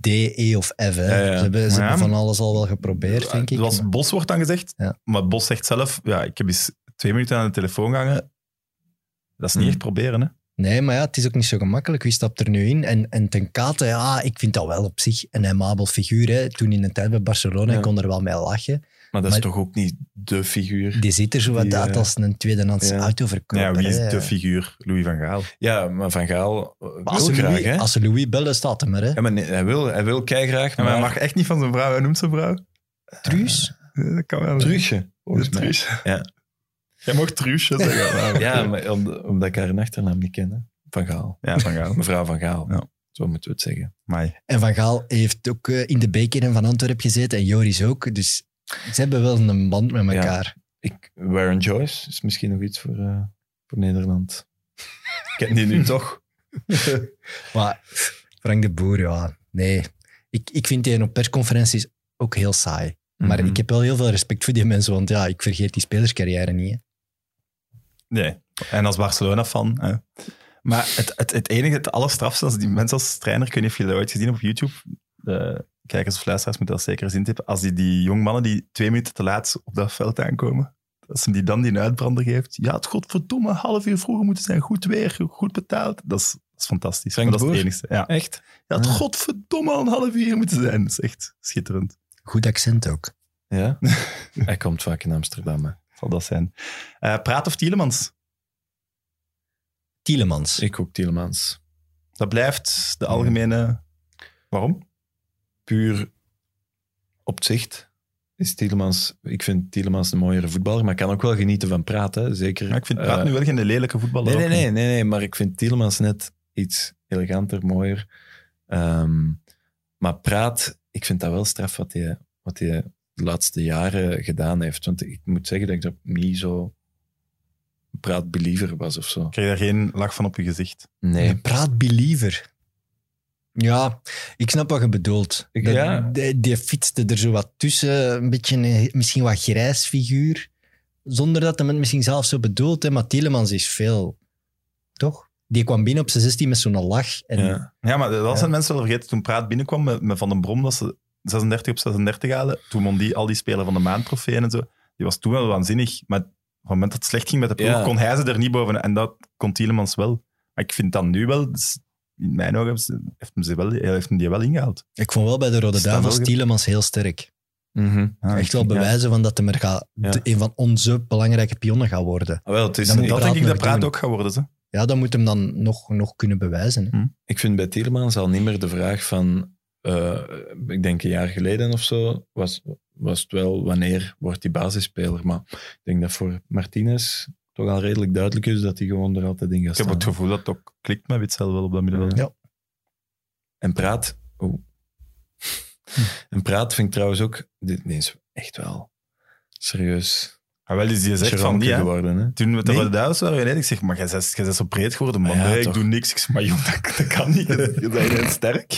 D, E of F. Hè. Ja, ja. Ze, hebben, ze Ja, hebben van maar- alles al wel geprobeerd, denk ik. Ah, Het was Maar- Bos wordt dan gezegd, Ja. maar Bos zegt zelf, ja, ik heb eens twee minuten aan de telefoon gehangen. Dat is niet Hmm. echt proberen, hè. Nee, maar ja, het is ook niet zo gemakkelijk. Wie stapt er nu in? En, en ten kate, ja, ik vind dat wel op zich een aimabel figuur. Hè. Toen in de tijd bij Barcelona, Ja. ik kon er wel mee lachen. Maar dat is Maar- toch ook niet de figuur. Die ziet er zo wat Die, uit eh, als een tweedehands ja. autoverkoper. Ja, wie is hè. de figuur? Louis van Gaal. Ja, maar Van Gaal eh, Maar wil als, ze graag, Louis, hè? als ze Louis bellen, staat hem er. Hè. Ja, maar nee, hij wil, hij wil keihard, En maar... hij mag echt niet van zijn vrouw, hij noemt zijn vrouw. Truus? Eh, Dat kan wel. Truusje, De volgens mij. Truus. Ja. Jij mag Truusje zeggen. maar- Ja, maar om- omdat ik haar een achternaam niet ken, hè. Van Gaal. Ja, van Gaal. Mevrouw Van Gaal. Ja. Zo moeten we het zeggen. Amai. En Van Gaal heeft ook eh, in de beker en van Antwerpen gezeten. En Joris ook. Dus ze hebben wel een band met elkaar. Ik, Warren Joyce is misschien nog iets voor, eh, voor Nederland. Ik ken (laughs) die nu toch. Maar pff, Frank de Boer, ja. Nee. Ik, ik vind die op persconferenties ook heel saai. Maar Mhm. ik heb wel heel veel respect voor die mensen. Want ja, ik vergeet die spelerscarrière niet. hè. Nee. En als Barcelona-fan, hè. Maar het, het, het enige, het allerstrafste, als die mensen als trainer, ik weet niet of je dat ooit gezien hebt op YouTube, eh, kijkers of luisteraars moeten dat zeker eens intippen, als die, die jongmannen die twee minuten te laat op dat veld aankomen, als hem die dan die uitbrander geeft, ja, het godverdomme, half uur vroeger moeten zijn, goed weer, goed betaald, dat is, dat is fantastisch. Frank Maar dat de is het Boer? enigste. Ja. Echt? ja, het Ah. godverdomme al een half uur moeten zijn, dat is echt schitterend. Goed accent (laughs) ook. Ja. Hij komt vaak in Amsterdam. hè. Zal dat zijn. Eh, praat of Tielemans? Tielemans. Ik ook Tielemans. Dat blijft de algemene... Waarom? Puur op het zicht is Tielemans... Ik vind Tielemans een mooiere voetballer, maar kan ook wel genieten van praten. hè. Zeker. Ja, ik vind Praat eh, nu wel geen lelijke voetballer. Nee, nee, ook niet. nee, nee, nee, maar ik vind Tielemans net iets eleganter, mooier. Ehm, maar Praat, ik vind dat wel straf wat hij, wat hij de laatste jaren gedaan heeft. Want ik moet zeggen dat ik dat niet zo praatbeliever was of zo. Ik krijg daar geen lach van op je gezicht. Nee. De praatbeliever. Ja, ik snap wat je bedoelt. Ik- Dat- ja. die, die fietste er zo wat tussen, een beetje een, misschien wat grijs figuur. Zonder dat hem het misschien zelf zo bedoelt. Hè. Maar Tielemans is veel, toch? Die kwam binnen op zijn 16 met zo'n lach. En Ja. Ja, maar dat zijn mensen wel vergeten. Toen Praat binnenkwam met, met Van den Brom, dat ze 36 op 36 halen. Toen won die al die spelers van de maandtrofeeën en zo. Die was toen wel waanzinnig. Maar op het moment dat het slecht ging met de ploeg, Ja. kon hij ze er niet boven. En dat kon Tielemans wel. Maar ik vind dan nu wel... dus in mijn ogen heeft ze- heeft hem, ze wel, hij heeft hem die wel ingehaald. Ik vond wel bij de Rode Is dat Duivels wel Ah, ge- Tielemans heel sterk. Mhm. Echt wel bewijzen van dat hem er gaat, Ja. de- een van onze belangrijke pionnen gaat worden. Ah, wel, het is Dan niet- moet Dat denk ik dat nog Praat doen. ook gaat worden. Ze. Ja, dat moet hem dan nog, nog kunnen bewijzen. hè. Ik vind bij Tielemans al niet meer de vraag van, eh, ik denk een jaar geleden of zo, was, was het wel wanneer wordt die basisspeler. Maar ik denk dat voor Martinez toch al redelijk duidelijk is dat hij gewoon er altijd in gaat Ik heb staan. het gevoel dat het ook klikt met Witzel wel op dat middenveld. Ja. En praat. Oeh. Hm. en praat vind ik trouwens ook, dit nee, is echt wel serieus Ah, wel, dus die zegt van Cheronke die, hè. geworden. Hè? Toen we het Nee. over de duizend waren, beneden, ik zeg, maar jij bent, jij bent zo breed geworden, man. Ja, Nee, ik toch. doe niks. Ik zeg, maar joh, dat, dat kan niet. Je je bent heel sterk.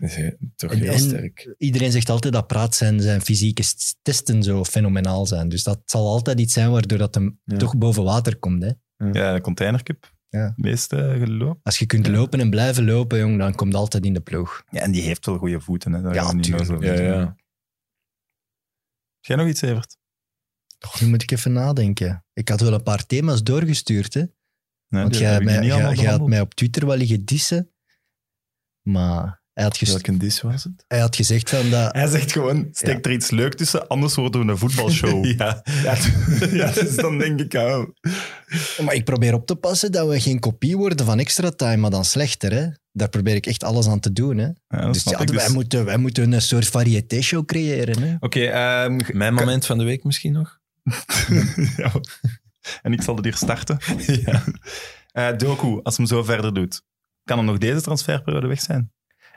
Dat is he- toch En- heel en- sterk. Iedereen zegt altijd dat praat zijn, zijn fysieke s- testen zo fenomenaal zijn. Dus dat zal altijd iets zijn waardoor dat hem Ja. toch boven water komt. Hè. Ja, de containercup. Ja. Het meeste eh, gelopen. Als je kunt lopen en blijven lopen, jong, dan komt het altijd in de ploeg. Ja, en die heeft wel goede voeten. Hè. Daar Ja, gaan we niet tuurlijk. nou zo Ja, over doen. ja. Heb jij nog iets, Evert? Toch, nu moet ik even nadenken. Ik had wel een paar thema's doorgestuurd. Hè. Nee, Want die jij heb ik mij- niet allemaal jij- jij had behandeld. mij op Twitter wel liggen dissen. Maar hij had, gest- Welke dis was het? hij had gezegd van dat... Hij zegt gewoon, steek Ja. er iets leuk tussen, anders worden we een voetbalshow. (laughs) ja. Ja, dus dan denk ik, oh. Maar ik probeer op te passen dat we geen kopie worden van extra time, maar dan slechter. Hè? Daar probeer ik echt alles aan te doen. Hè? Ja, dat Dus snap ja, ik. wij, Dus- moeten, wij moeten een soort variété-show creëren. Hè? Oké, ehm, ge- Mijn moment van de week misschien nog? ja. En ik zal het hier starten. ja. Eh, Doku, als hem zo verder doet, kan hem nog deze transferperiode weg zijn?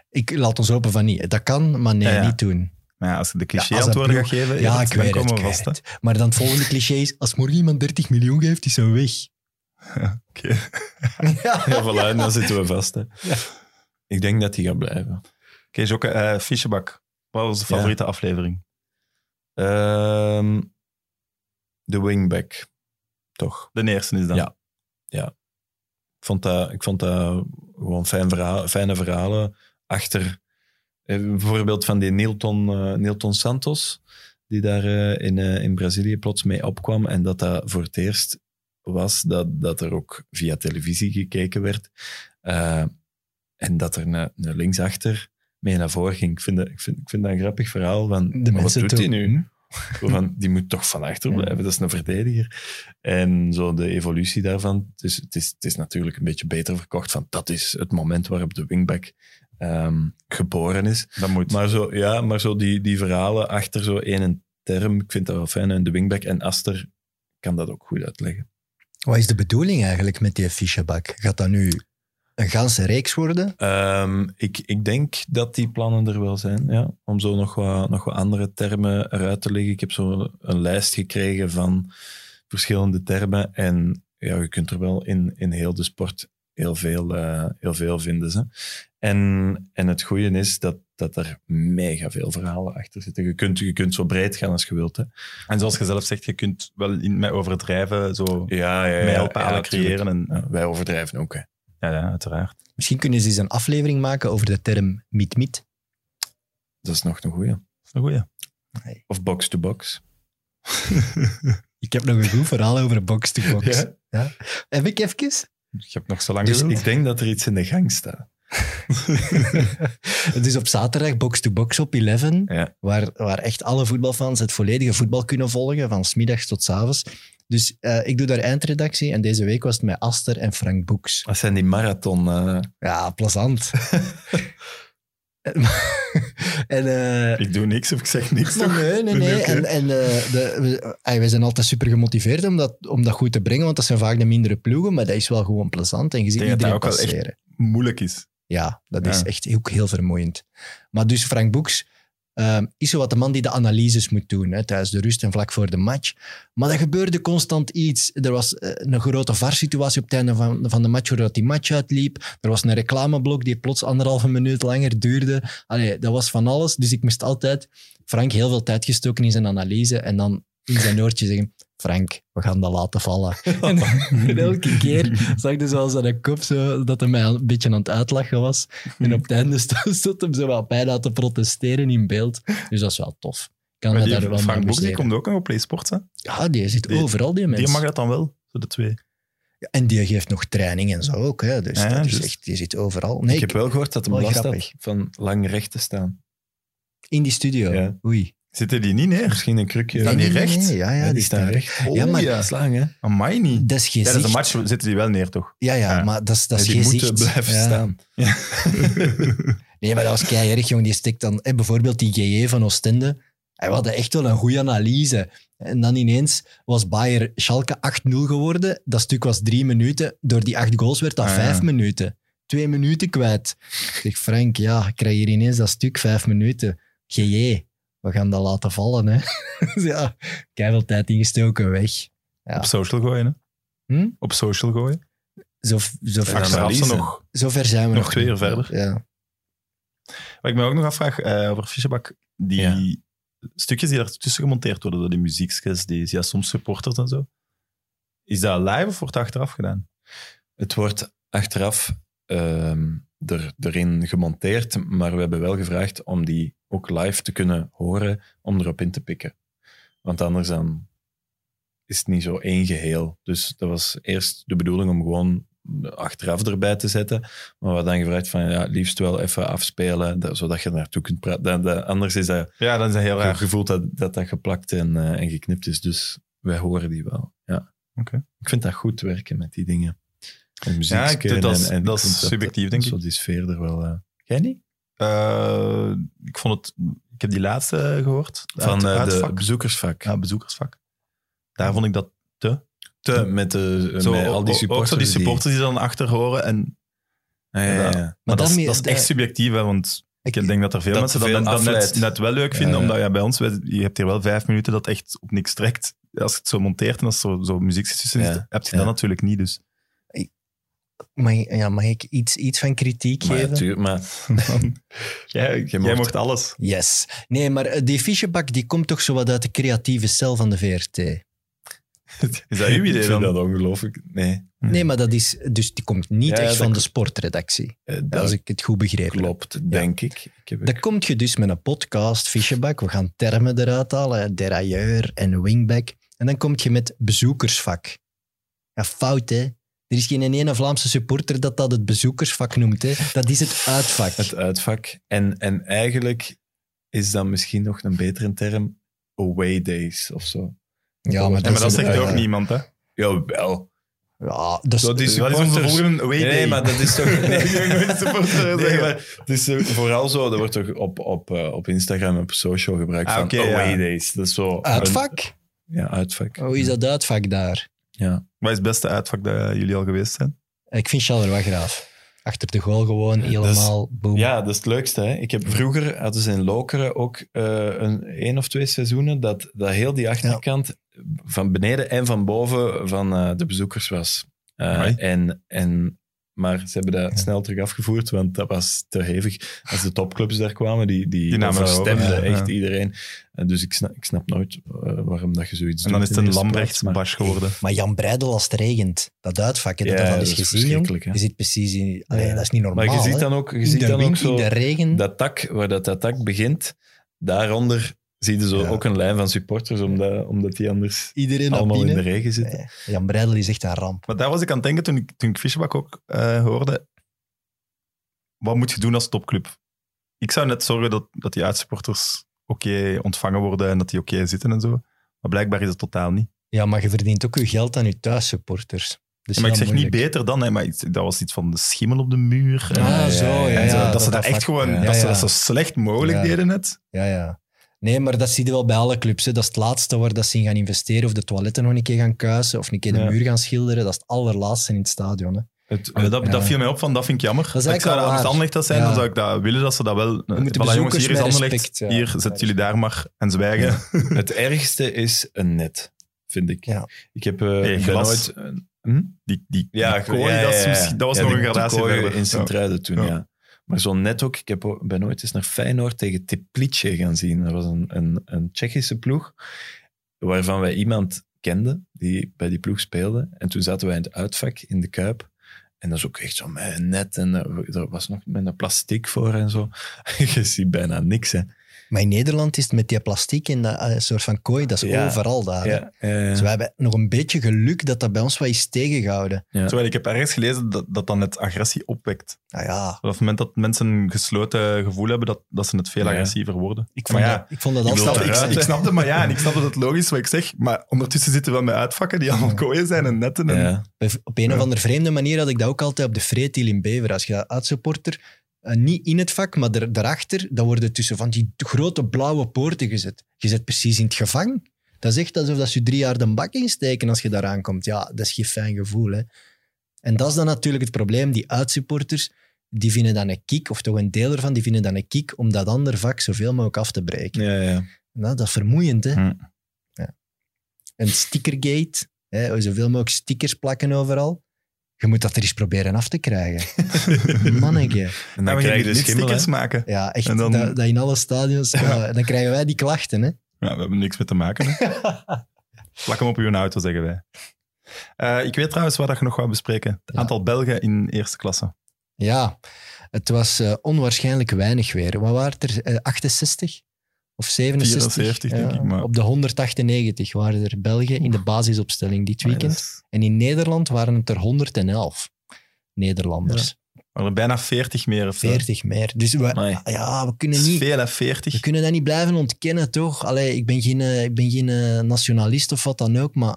Ik laat ons hopen van niet. Dat kan, maar Ja, nee, ja. niet doen. Maar ja, als je de als een cliché-antwoorden ploeg- gaat geven, Ja, dan ik weet, het, komen ik we weet vast. hè. het. Maar dan het (laughs) volgende cliché is, als morgen iemand 30 miljoen geeft, is hij weg. Oké. (laughs) (laughs) Ja. Ja, voilà, en dan zitten we vast. Hè. Ik denk dat hij gaat blijven. Oké, Jokke, eh Fischebak. Wat was de Ja. favoriete aflevering? Ehm, de wingback, toch? De eerste is dan. Ja. Ik vond dat, ik vond dat gewoon fijn verhaal, fijne verhalen achter. eh, Bijvoorbeeld van die Nilton, eh, Nilton Santos, die daar eh, in, eh, in Brazilië plots mee opkwam. En dat dat voor het eerst was dat, dat er ook via televisie gekeken werd. Eh, en dat er een, een linksachter mee naar voren ging. Ik vind dat, ik vind, ik vind dat een grappig verhaal. Van, De maar wat mensen doet toen. hij nu? Zo Van, die moet toch van achter blijven, dat is een verdediger. En zo de evolutie daarvan. Dus het is, het is natuurlijk een beetje beter verkocht van dat is het moment waarop de wingback ehm, geboren is. Dat moet. Maar zo, ja, maar zo die, die verhalen achter zo één term, ik vind dat wel fijn. En de wingback en Aster kan dat ook goed uitleggen. Wat is de bedoeling eigenlijk met die fichebak? Gaat dat nu een ganse reeks worden? Ehm, ik, ik denk dat die plannen er wel zijn, ja. Om zo nog wat, nog wat andere termen eruit te leggen. Ik heb zo een lijst gekregen van verschillende termen. En ja, je kunt er wel in, in heel de sport heel veel, eh, heel veel vinden. Ze. En, en het goede is dat, dat er mega veel verhalen achter zitten. Je kunt, je kunt zo breed gaan als je wilt. Hè. En zoals je zelf zegt, je kunt wel in, met overdrijven zo Ja, ja, mijlpalen creëren. En, Ja, wij overdrijven ook. Hè. Ja, ja, uiteraard. Misschien kunnen ze eens een aflevering maken over de term miet-miet. Dat is nog een goeie. Dat is een goeie. Of box-to-box. Ik heb nog een goed verhaal over box-to-box. (laughs) Ja? Heb ik even? Je hebt nog zo lang Dus gezien. ik denk dat er iets in de gang staat. (laughs) Het is op zaterdag box-to-box op 11, Ja. waar, waar echt alle voetbalfans het volledige voetbal kunnen volgen, van 's middags tot 's avonds. Dus eh, ik doe daar eindredactie en deze week was het met Aster en Frank Boeks. Dat zijn die marathon... eh, Ja, plezant. (laughs) en eh, Ik doe niks of ik zeg niks. Maar toch? Nee, nee, Nee, nee. oké. En, en eh, de, we, ey, wij zijn altijd super gemotiveerd om dat, om dat goed te brengen, want dat zijn vaak de mindere ploegen, maar dat is wel gewoon plezant en je ziet denk dat dat iedereen ook wel echt- passeren. Moeilijk is. Ja, dat Ja. is echt ook heel vermoeiend. Maar dus Frank Boeks ehm, is zo wat de man die de analyses moet doen, hè, tijdens de rust en vlak voor de match. Maar er gebeurde constant iets. Er was eh, een grote VAR-situatie op het einde van, van de match, doordat die match uitliep. Er was een reclameblok die plots anderhalve minuut langer duurde. Allee, dat was van alles. Dus ik moest altijd Frank heel veel tijd gestoken in zijn analyse en dan in zijn oortje zeggen... Frank, we gaan dat laten vallen. (laughs) En, en elke keer zag ik dus wel eens aan de kop zo, dat hij mij een beetje aan het uitlachen was. En op het einde stond, stond hem zo wat bijna te protesteren in beeld. Dus dat is wel tof. Kan Maar me die daar wel mee Frank Boek die amuseren. komt ook nog op PlaySports. Hè? Ja, die zit die- overal, die Die mensen. mag dat dan wel, zo de twee. En die geeft nog training en zo ook. Hè. Dus Ja, dat is dus- echt, die zit overal. Nee, ik heb wel gehoord dat hem Wel last grappig. had van lang recht te staan. in die studio. Ja. Oei. Zitten die niet neer? Misschien een krukje. Staan die recht? ja, ja, Ja, die staan recht. recht. Ja, maar- Dat is lang, hè? Amai niet. Dat is gezicht. Tijdens de match zitten die wel neer, toch? Ja, ja, Ja. maar dat is, dat is die gezicht. moeten blijven (laughs) Ja. staan. Nee, maar dat was keihard, jong. Die stikt dan eh, bijvoorbeeld die GE van Oostende. Hij had echt wel een goede analyse. En dan ineens was Bayer Schalke 8-0 geworden. Dat stuk was drie minuten. Door die acht goals werd dat Ah, ja. vijf minuten. Twee minuten kwijt. Ik zeg, Frank, ja, ik krijg hier ineens dat stuk vijf minuten. GE, we gaan dat laten vallen, hè. (laughs) dus ja, keihard tijd ingestoken, weg. Ja. Op social gooien, hè? Hm? Op social gooien. Zo, zo, En ver, dan- achteraf ze analyse. nog. zo ver zijn we nog. Nog twee niet. uur verder. Ja. Wat ik me ook nog afvraag eh, over Fischebak, die Ja. stukjes die daartussen gemonteerd worden, door die muziekjes, die ja, soms supporters en zo. Is dat live of wordt dat achteraf gedaan? Het wordt achteraf ehm, er, erin gemonteerd, maar we hebben wel gevraagd om die ook live te kunnen horen, om erop in te pikken. Want anders dan is het niet zo één geheel. Dus dat was eerst de bedoeling om gewoon achteraf erbij te zetten. Maar we hadden dan gevraagd van, ja, liefst wel even afspelen, dat- zodat je er naartoe kunt praten. Dan- dan- anders is dat Ja, dat is heel het raar. gevoel dat dat, dat geplakt en, eh, en geknipt is. Dus wij horen die wel. Ja. Oké. Ik vind dat goed werken met die dingen. En muziek Ja, ik- dat is- dat is ik vind subjectief, denk zo ik. die sfeer er wel. eh Jij niet? Eh, ik vond het... Ik heb die laatste eh, gehoord. Van Uit- eh, de uitvak. bezoekersvak. Ja, bezoekersvak. Daar vond ik dat Te, met, de, zo, met al die ook- Ook supporters. zo die supporters die dan achter horen. En, maar Ah, ja, ja, ja. Maar dat, is, daarmee- dat is echt eh, subjectief, hè, want ik ik- denk dat er veel Dat mensen veel dat, dat net, afleidt. net wel leuk vinden. Ja, ja. Omdat ja, bij ons, wij- je hebt hier wel vijf minuten dat echt op niks trekt. Als je het zo monteert en als er zo, zo muziek zit tussen, Ja, zit, heb je dat ja. natuurlijk niet. Dus. Mag, ik- ja, mag ik iets, iets van kritiek Maar, geven? tuur- maar jij, jij mocht- mocht alles. Yes. Nee, maar eh, die fichebak die komt toch zo wat uit de creatieve cel van de VRT. (laughs) Is dat uw (laughs) ik idee vind dan? dat ongelooflijk. Nee, eh, Hmm. Nee, maar dat is, dus die komt niet Ja, echt dat van de klopt. sportredactie. eh, als dat ik het goed begrepen heb. klopt, denk ik. ik heb Dan komt je dus met een podcast, fichebak, we gaan termen eruit halen, hè, derailleur en wingback. En dan kom je met bezoekersvak. Ja, fout hè. Er is geen ene Vlaamse supporter dat dat het bezoekersvak noemt. Hè. Dat is het uitvak. Het uitvak. En, en eigenlijk is dat misschien nog een betere term, away days of zo. ja, maar Ja, dat, maar dat is zegt een- Ah, ook eh, niemand, hè? Jawel. Ja, dat is- Zo, die Dat is onze supporters- volgende way Nee, day. nee, maar dat is toch... Ik (laughs) Nee, denk dat we supporters nee zeggen. maar het is eh, vooral zo, dat wordt toch op, op, eh, op Instagram en op social gebruikt Ah, van oké, away ja. days. Dat is zo... uitvak? Ja, uitvak. Hoe is dat uitvak daar? Wat is het beste uitvak dat eh, jullie al geweest zijn? Ik vind Charleroi Wagraaf. Achter de goal gewoon helemaal boem. Ja, dat is het leukste. Hè? Ik heb vroeger hadden ze in Lokeren ook eh, een één of twee seizoenen dat, dat heel die achterkant van beneden en van boven van eh, de bezoekers was. Eh, Amai. en, en, Maar ze hebben dat snel terug afgevoerd, want dat was te hevig. Als de topclubs daar kwamen, die, die, Die namen dat overstemden over, ja, echt ja. iedereen. En dus ik snap, ik snap nooit eh, waarom dat je zoiets En doet dan is het in een deze plaats, maar- Lambrechts-bas geworden. Maar Jan Breidel als het regent, dat uitvak, hè, dat Ja, heb je al dat eens is gezien, jong. verschrikkelijk, hè. Je zit precies in... Allee, Ja. dat is niet normaal, Maar je ziet hè. dan ook, je In ziet de dan ook wind, in zo de regen. dat tak, waar dat, dat tak begint, daaronder zie je zo Ja. ook een lijn van supporters, omdat, omdat die anders Iedereen naar allemaal in de binnen. regen zitten. Ja, Jan Breidel is echt een ramp. Maar daar was ik aan het denken toen ik, toen ik Fischbach ook eh, hoorde. Wat moet je doen als topclub? Ik zou net zorgen dat, dat die uitsupporters oké ontvangen worden en dat die oké zitten en zo. Maar blijkbaar is het totaal niet. Ja, maar je verdient ook je geld aan je thuissupporters. Dus Ja, maar ik ja, zeg niet moeilijk. beter dan, hè, maar ik- dat was iets van de schimmel op de muur. En, Ah, Ah, zo, ja. en zo, ja, dat, ze dat vak- echt gewoon ja. dat ze Ja, dat zo ja. slecht mogelijk Ja. deden net. Ja, ja. Nee, maar dat zie je wel bij alle clubs. Hè. Dat is het laatste waar dat ze in gaan investeren. Of de toiletten nog een keer gaan kuisen. Of een keer de Ja. muur gaan schilderen. Dat is het allerlaatste in het stadion. Hè. Het, Maar Eh, dat, Ja. dat viel mij op van, dat vind ik jammer. is eigenlijk ik zou wel dat als het waar. Anderlecht dat zijn, Ja. dan zou ik dat willen dat ze dat wel... We moeten bezoekers hier is met Anderlecht, respect, ja. hier, zet jullie daar maar en zwijgen. Ja. het ergste is een net, vind ik. Ja. Ik heb eh Nee, ik ben glas. ooit- hm? Die, die, Ja, die ik- kooi, ja, ja, dat, is ja, misschien- ja. dat was Ja, nog die een gradatie kooien verder. in Ja. Sint-Truiden toen, Ja. ja. Maar zo net ook, ik heb, o- ben ooit eens naar Feyenoord tegen Teplice gaan zien. Dat was een, een, een Tsjechische ploeg, waarvan wij iemand kenden die bij die ploeg speelde. En toen zaten wij in het uitvak in de Kuip. En dat is ook echt zo met een net en eh, er was nog met een plastic voor en zo. (laughs) Je ziet bijna niks, hè. Maar in Nederland is het met die plastic en dat eh, soort van kooi. Dat is Ja. overal daar. hè. Ja, eh, Dus we hebben nog een beetje geluk dat dat bij ons wat is tegengehouden. Terwijl ik heb ergens gelezen dat, dat dan het agressie opwekt. Nou ja, Op het moment dat mensen een gesloten gevoel hebben, dat, dat ze het veel Ja. agressiever worden. ik Maar vond, ja, dat, ik vond dat Ik altijd... snap, ik, eruit, ik hè. snap het, maar ja, en ik snap dat het logisch is wat ik zeg. Maar ondertussen zitten we met uitvakken die allemaal kooien zijn en netten. En, ja. Op- Op een Ja. of andere vreemde manier had ik dat ook altijd op de Freetiel in Bever. Als je dat uitsupporter, eh, niet in het vak, maar daar- daarachter, dan worden tussen van die grote blauwe poorten gezet. Je zit precies in het gevang. Dat is echt alsof dat ze je drie jaar de bak insteken als je daar aankomt. Ja, dat is geen fijn gevoel. Hè? En dat is dan natuurlijk het probleem. Die uitsupporters, die vinden dan een kick, of toch een deel ervan, die vinden dan een kick om dat andere vak zoveel mogelijk af te breken. Ja, ja. Nou, dat is vermoeiend, hè? Hm. Ja. En stickergate, hè, zoveel mogelijk stickers plakken overal. Je moet dat er eens proberen af te krijgen. (laughs) Manneke. En dan dan we krijg gaan je de niet schimmel, stickers hè. maken. Ja, echt, En dan- dat, dat in alle (laughs) stadions. eh, dan krijgen wij die klachten, hè? Ja, we hebben niks mee te maken. hè. (laughs) Plak hem op uw auto, zeggen wij. Eh, ik weet trouwens wat je nog wou bespreken. Het Ja. aantal Belgen in eerste klasse. Ja, het was eh, onwaarschijnlijk weinig weer. Wat waren het er? Eh, 68 of 67? 74, denk ik, maar- Op de 198 waren er Belgen in de basisopstelling dit Maar weekend. dat is- En in Nederland waren het er 111 Nederlanders. Er waren bijna 40 meer. Of zo. 40 meer. Dus we, Amai. ja, we Dat kunnen is niet... veel, hè, 40. We kunnen dat niet blijven ontkennen, toch? Allee, ik ben geen, eh, ik ben geen eh, nationalist of wat dan ook, maar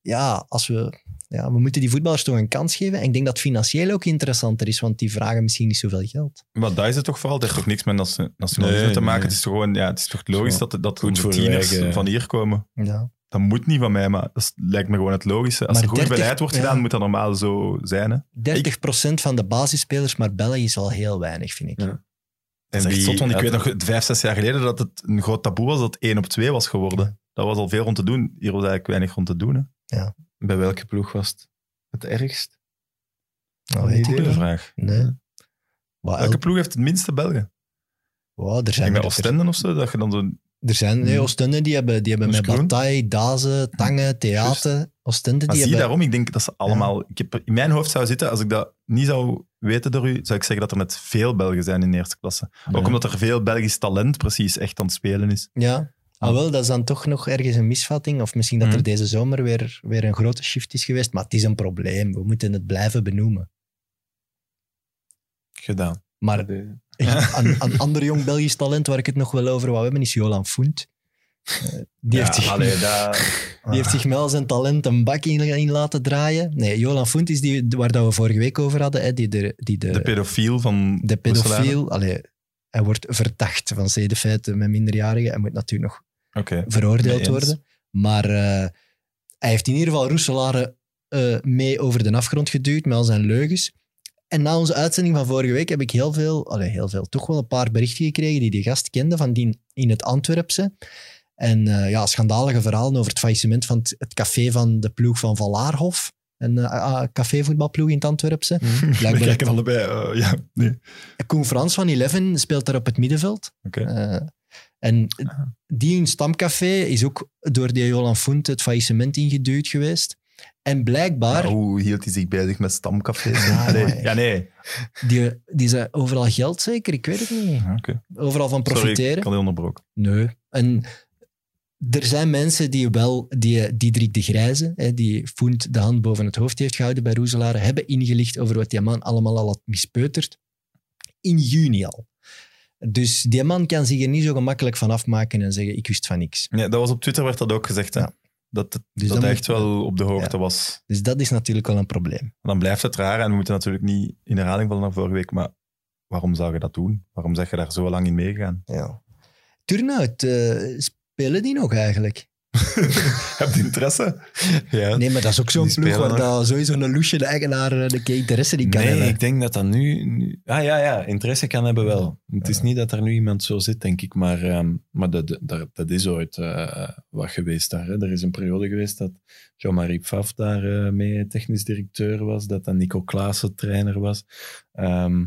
ja, als we, ja, we moeten die voetballers toch een kans geven. En ik denk dat financieel ook interessanter is, want die vragen misschien niet zoveel geld. Maar daar is het toch vooral. Het heeft toch niks met nation- nationalisme Nee, te maken. nee. Het is toch gewoon, ja, het is toch logisch Zo. dat, dat Goed onze voor de tieners eigen- van hier komen. Ja. Dat moet niet van mij, maar dat is- lijkt me gewoon het logische. Als Maar er goed 30 beleid wordt ja. gedaan, moet dat normaal zo zijn. Hè? 30% van de basisspelers, maar België is al heel weinig, vind ik. Ja. En is echt die- zot, want ik uit- weet nog vijf, zes jaar geleden dat het een groot taboe was dat 1 op 2 was geworden. Dat was al veel rond te doen. Hier was eigenlijk weinig rond te doen. Hè? Bij welke ploeg was het het ergst? Nou, weet ik Goeie niet. vraag. Nee. Maar Welke elk- ploeg heeft het minste Belgen? wow, er Ik denk zijn dat Hmm. er, er, Oostenden of zo, dat je dan zo'n... zijn nee, Oostende die hebben, die hebben met Moeskroen. Bataille, Dazen, Tangen, Theater. Oostende Maar zie die hebben... daarom, ik denk dat ze allemaal... Ik heb, in mijn hoofd zou zitten, als ik dat niet zou weten door u, zou ik zeggen dat er net veel Belgen zijn in de eerste klasse. Ook omdat er veel Belgisch talent precies echt aan het spelen is. Ja, ah, wel, dat is dan toch nog ergens een misvatting. Of misschien dat Mhm. er deze zomer weer, weer een grote shift is geweest. Maar het is een probleem. We moeten het blijven benoemen. gedaan. Maar een, een ander jong Belgisch talent waar ik het nog wel over wou hebben is Jolan Fount. Eh, die, heeft zich, (laughs) die heeft zich met al zijn talent een bak in, in laten draaien. Nee, Jolan Fount is die waar dat we vorige week over hadden. Hè, die de, die de, De pedofiel van... de Oké. pedofiel. Allee, hij wordt verdacht van zedenfeiten met minderjarigen. Hij moet natuurlijk nog eh, veroordeeld Mee eens. worden. Maar eh, hij heeft in ieder geval Roeselare eh, mee over de afgrond geduwd met al zijn leugens. En na onze uitzending van vorige week heb ik heel veel, allee, heel veel, toch wel een paar berichten gekregen die die gast kende van die in het Antwerpse. En eh, ja, schandalige verhalen over het faillissement van het, het café van de ploeg van Van Laarhof. Een eh, ah, cafévoetbalploeg in het Antwerpse. We Blijkbaar kijken allebei. eh, ja, nee. Oké. Koen Frans van Eleven speelt daar op het middenveld. Eh, en Ah. die in Stamcafé is ook door die Jolan Font het faillissement ingeduwd geweest. En blijkbaar, Ja, hoe hield hij zich bezig met stamcafés? Ja, Allee, maar- ja, nee. die, die zijn overal geld zeker, ik weet het niet. Ja, Ah, oké. Overal van Sorry, ik profiteren. had je onderbroken. Nee. En er zijn mensen die wel, die Diederik de Grijze, hè, die Font de hand boven het hoofd heeft gehouden bij Roeselaren, hebben ingelicht over wat die man allemaal al had mispeuterd. In juni al. Dus die man kan zich er niet zo gemakkelijk van afmaken en zeggen, ik wist van niks. Ja, dat was op Twitter werd dat ook gezegd. Hè? Ja. Dat, het- Dus dat dan hij moet- echt wel op de hoogte was. Dus dat is natuurlijk wel een probleem. Dan blijft het raar en we moeten natuurlijk niet in herhaling vallen naar vorige week. Maar waarom zou je dat doen? Waarom zeg je daar zo lang in meegegaan? Ja. Turnhout, eh, spelen die nog eigenlijk? (laughs) Heb je interesse? Ja. Nee, maar dat is ook zo'n Die ploeg spelen waar dat sowieso een loesje de eigenaar eh, de interesse die kan Nee, hebben. ik denk dat dat nu, nu- Ah ja, ja, interesse kan hebben wel. Het is niet dat er nu iemand zo zit, denk ik. Maar, ehm, maar dat, dat, dat is ooit eh, wat geweest daar. Hè. Er is een periode geweest dat Jean-Marie Pfaff daar eh, mee technisch directeur was. Dat dan Nico Klaassen trainer was. Ehm,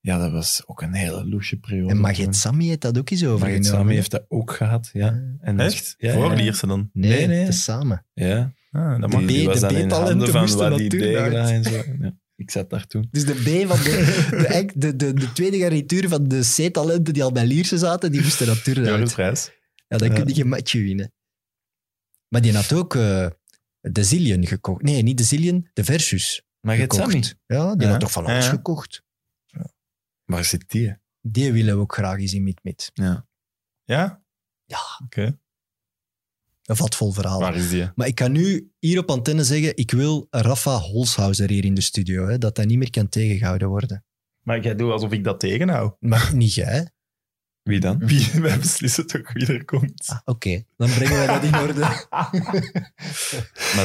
ja, dat was ook een hele loesje periode. En toen. Maget Sami heeft dat ook eens overgenomen. Maget Sami heeft dat ook gehad, ja. En dat- Echt? Ja, Voor ja, ja. Lierse dan? Nee, Nee, nee. het is samen. Ja, Ah, dat mag. die, Die- die de was dan in B-talenten handen van moesten wat dat die toen Degra uit. en zo. Ja, ik zat daar toen. Dus de B van (laughs) de, de, eik- de, de, de tweede garnituur van de C-talenten die al bij Lierse zaten, die moesten dat turn Joris uit. Reis. Ja, dan Ja. kun je geen matchje winnen. Maar die had ook eh, de Zillion gekocht. Nee, niet de Zillion, de Versus. Maget gekocht. Sami, Ja, die Ja. had toch van ons Ja. gekocht. waar zit die? Die willen we ook graag eens in mid-mid. Ja? Ja. Oké. Een vatvol verhaal. Waar is die? Maar ik kan nu hier op antenne zeggen, ik wil Rafa Holshouser hier in de studio. Hè, dat hij niet meer kan tegengehouden worden. Maar jij doet alsof ik dat tegenhoud. Maar niet jij. hè? Wie dan? (laughs) Wie, wij beslissen toch wie er komt. Ah, Oké, dan brengen wij dat in orde. Maar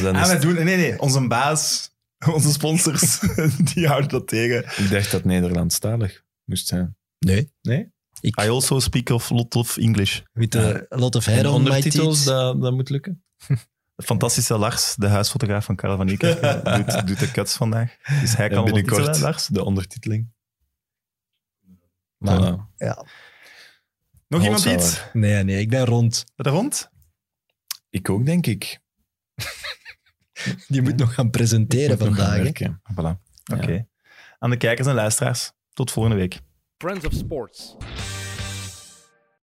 dan Ah, is wij doen, nee, nee, onze baas, (laughs) onze sponsors, (laughs) die houden dat tegen. Ik dacht dat Nederlandstalig moest zijn. Nee. Nee? Ik Ah, I also speak of lot of English. weet de lot of hair En on my ondertitels, teeth. dat, dat moet lukken. Fantastische Lars, de huisfotograaf van Karel van Iker, doet, doet de cuts vandaag. Dus hij kan ondertitelen, Lars. de ondertiteling. Maar- Voilà. Ja. Nog iemand Holzhauer. iets? Nee, nee, ik ben rond. De rond? Ik ook, denk ik. Die moet nog gaan presenteren Moet nog gaan vandaag. hè. werken. Voilà. Oké. Aan de kijkers en luisteraars, tot volgende week. Friends of Sports.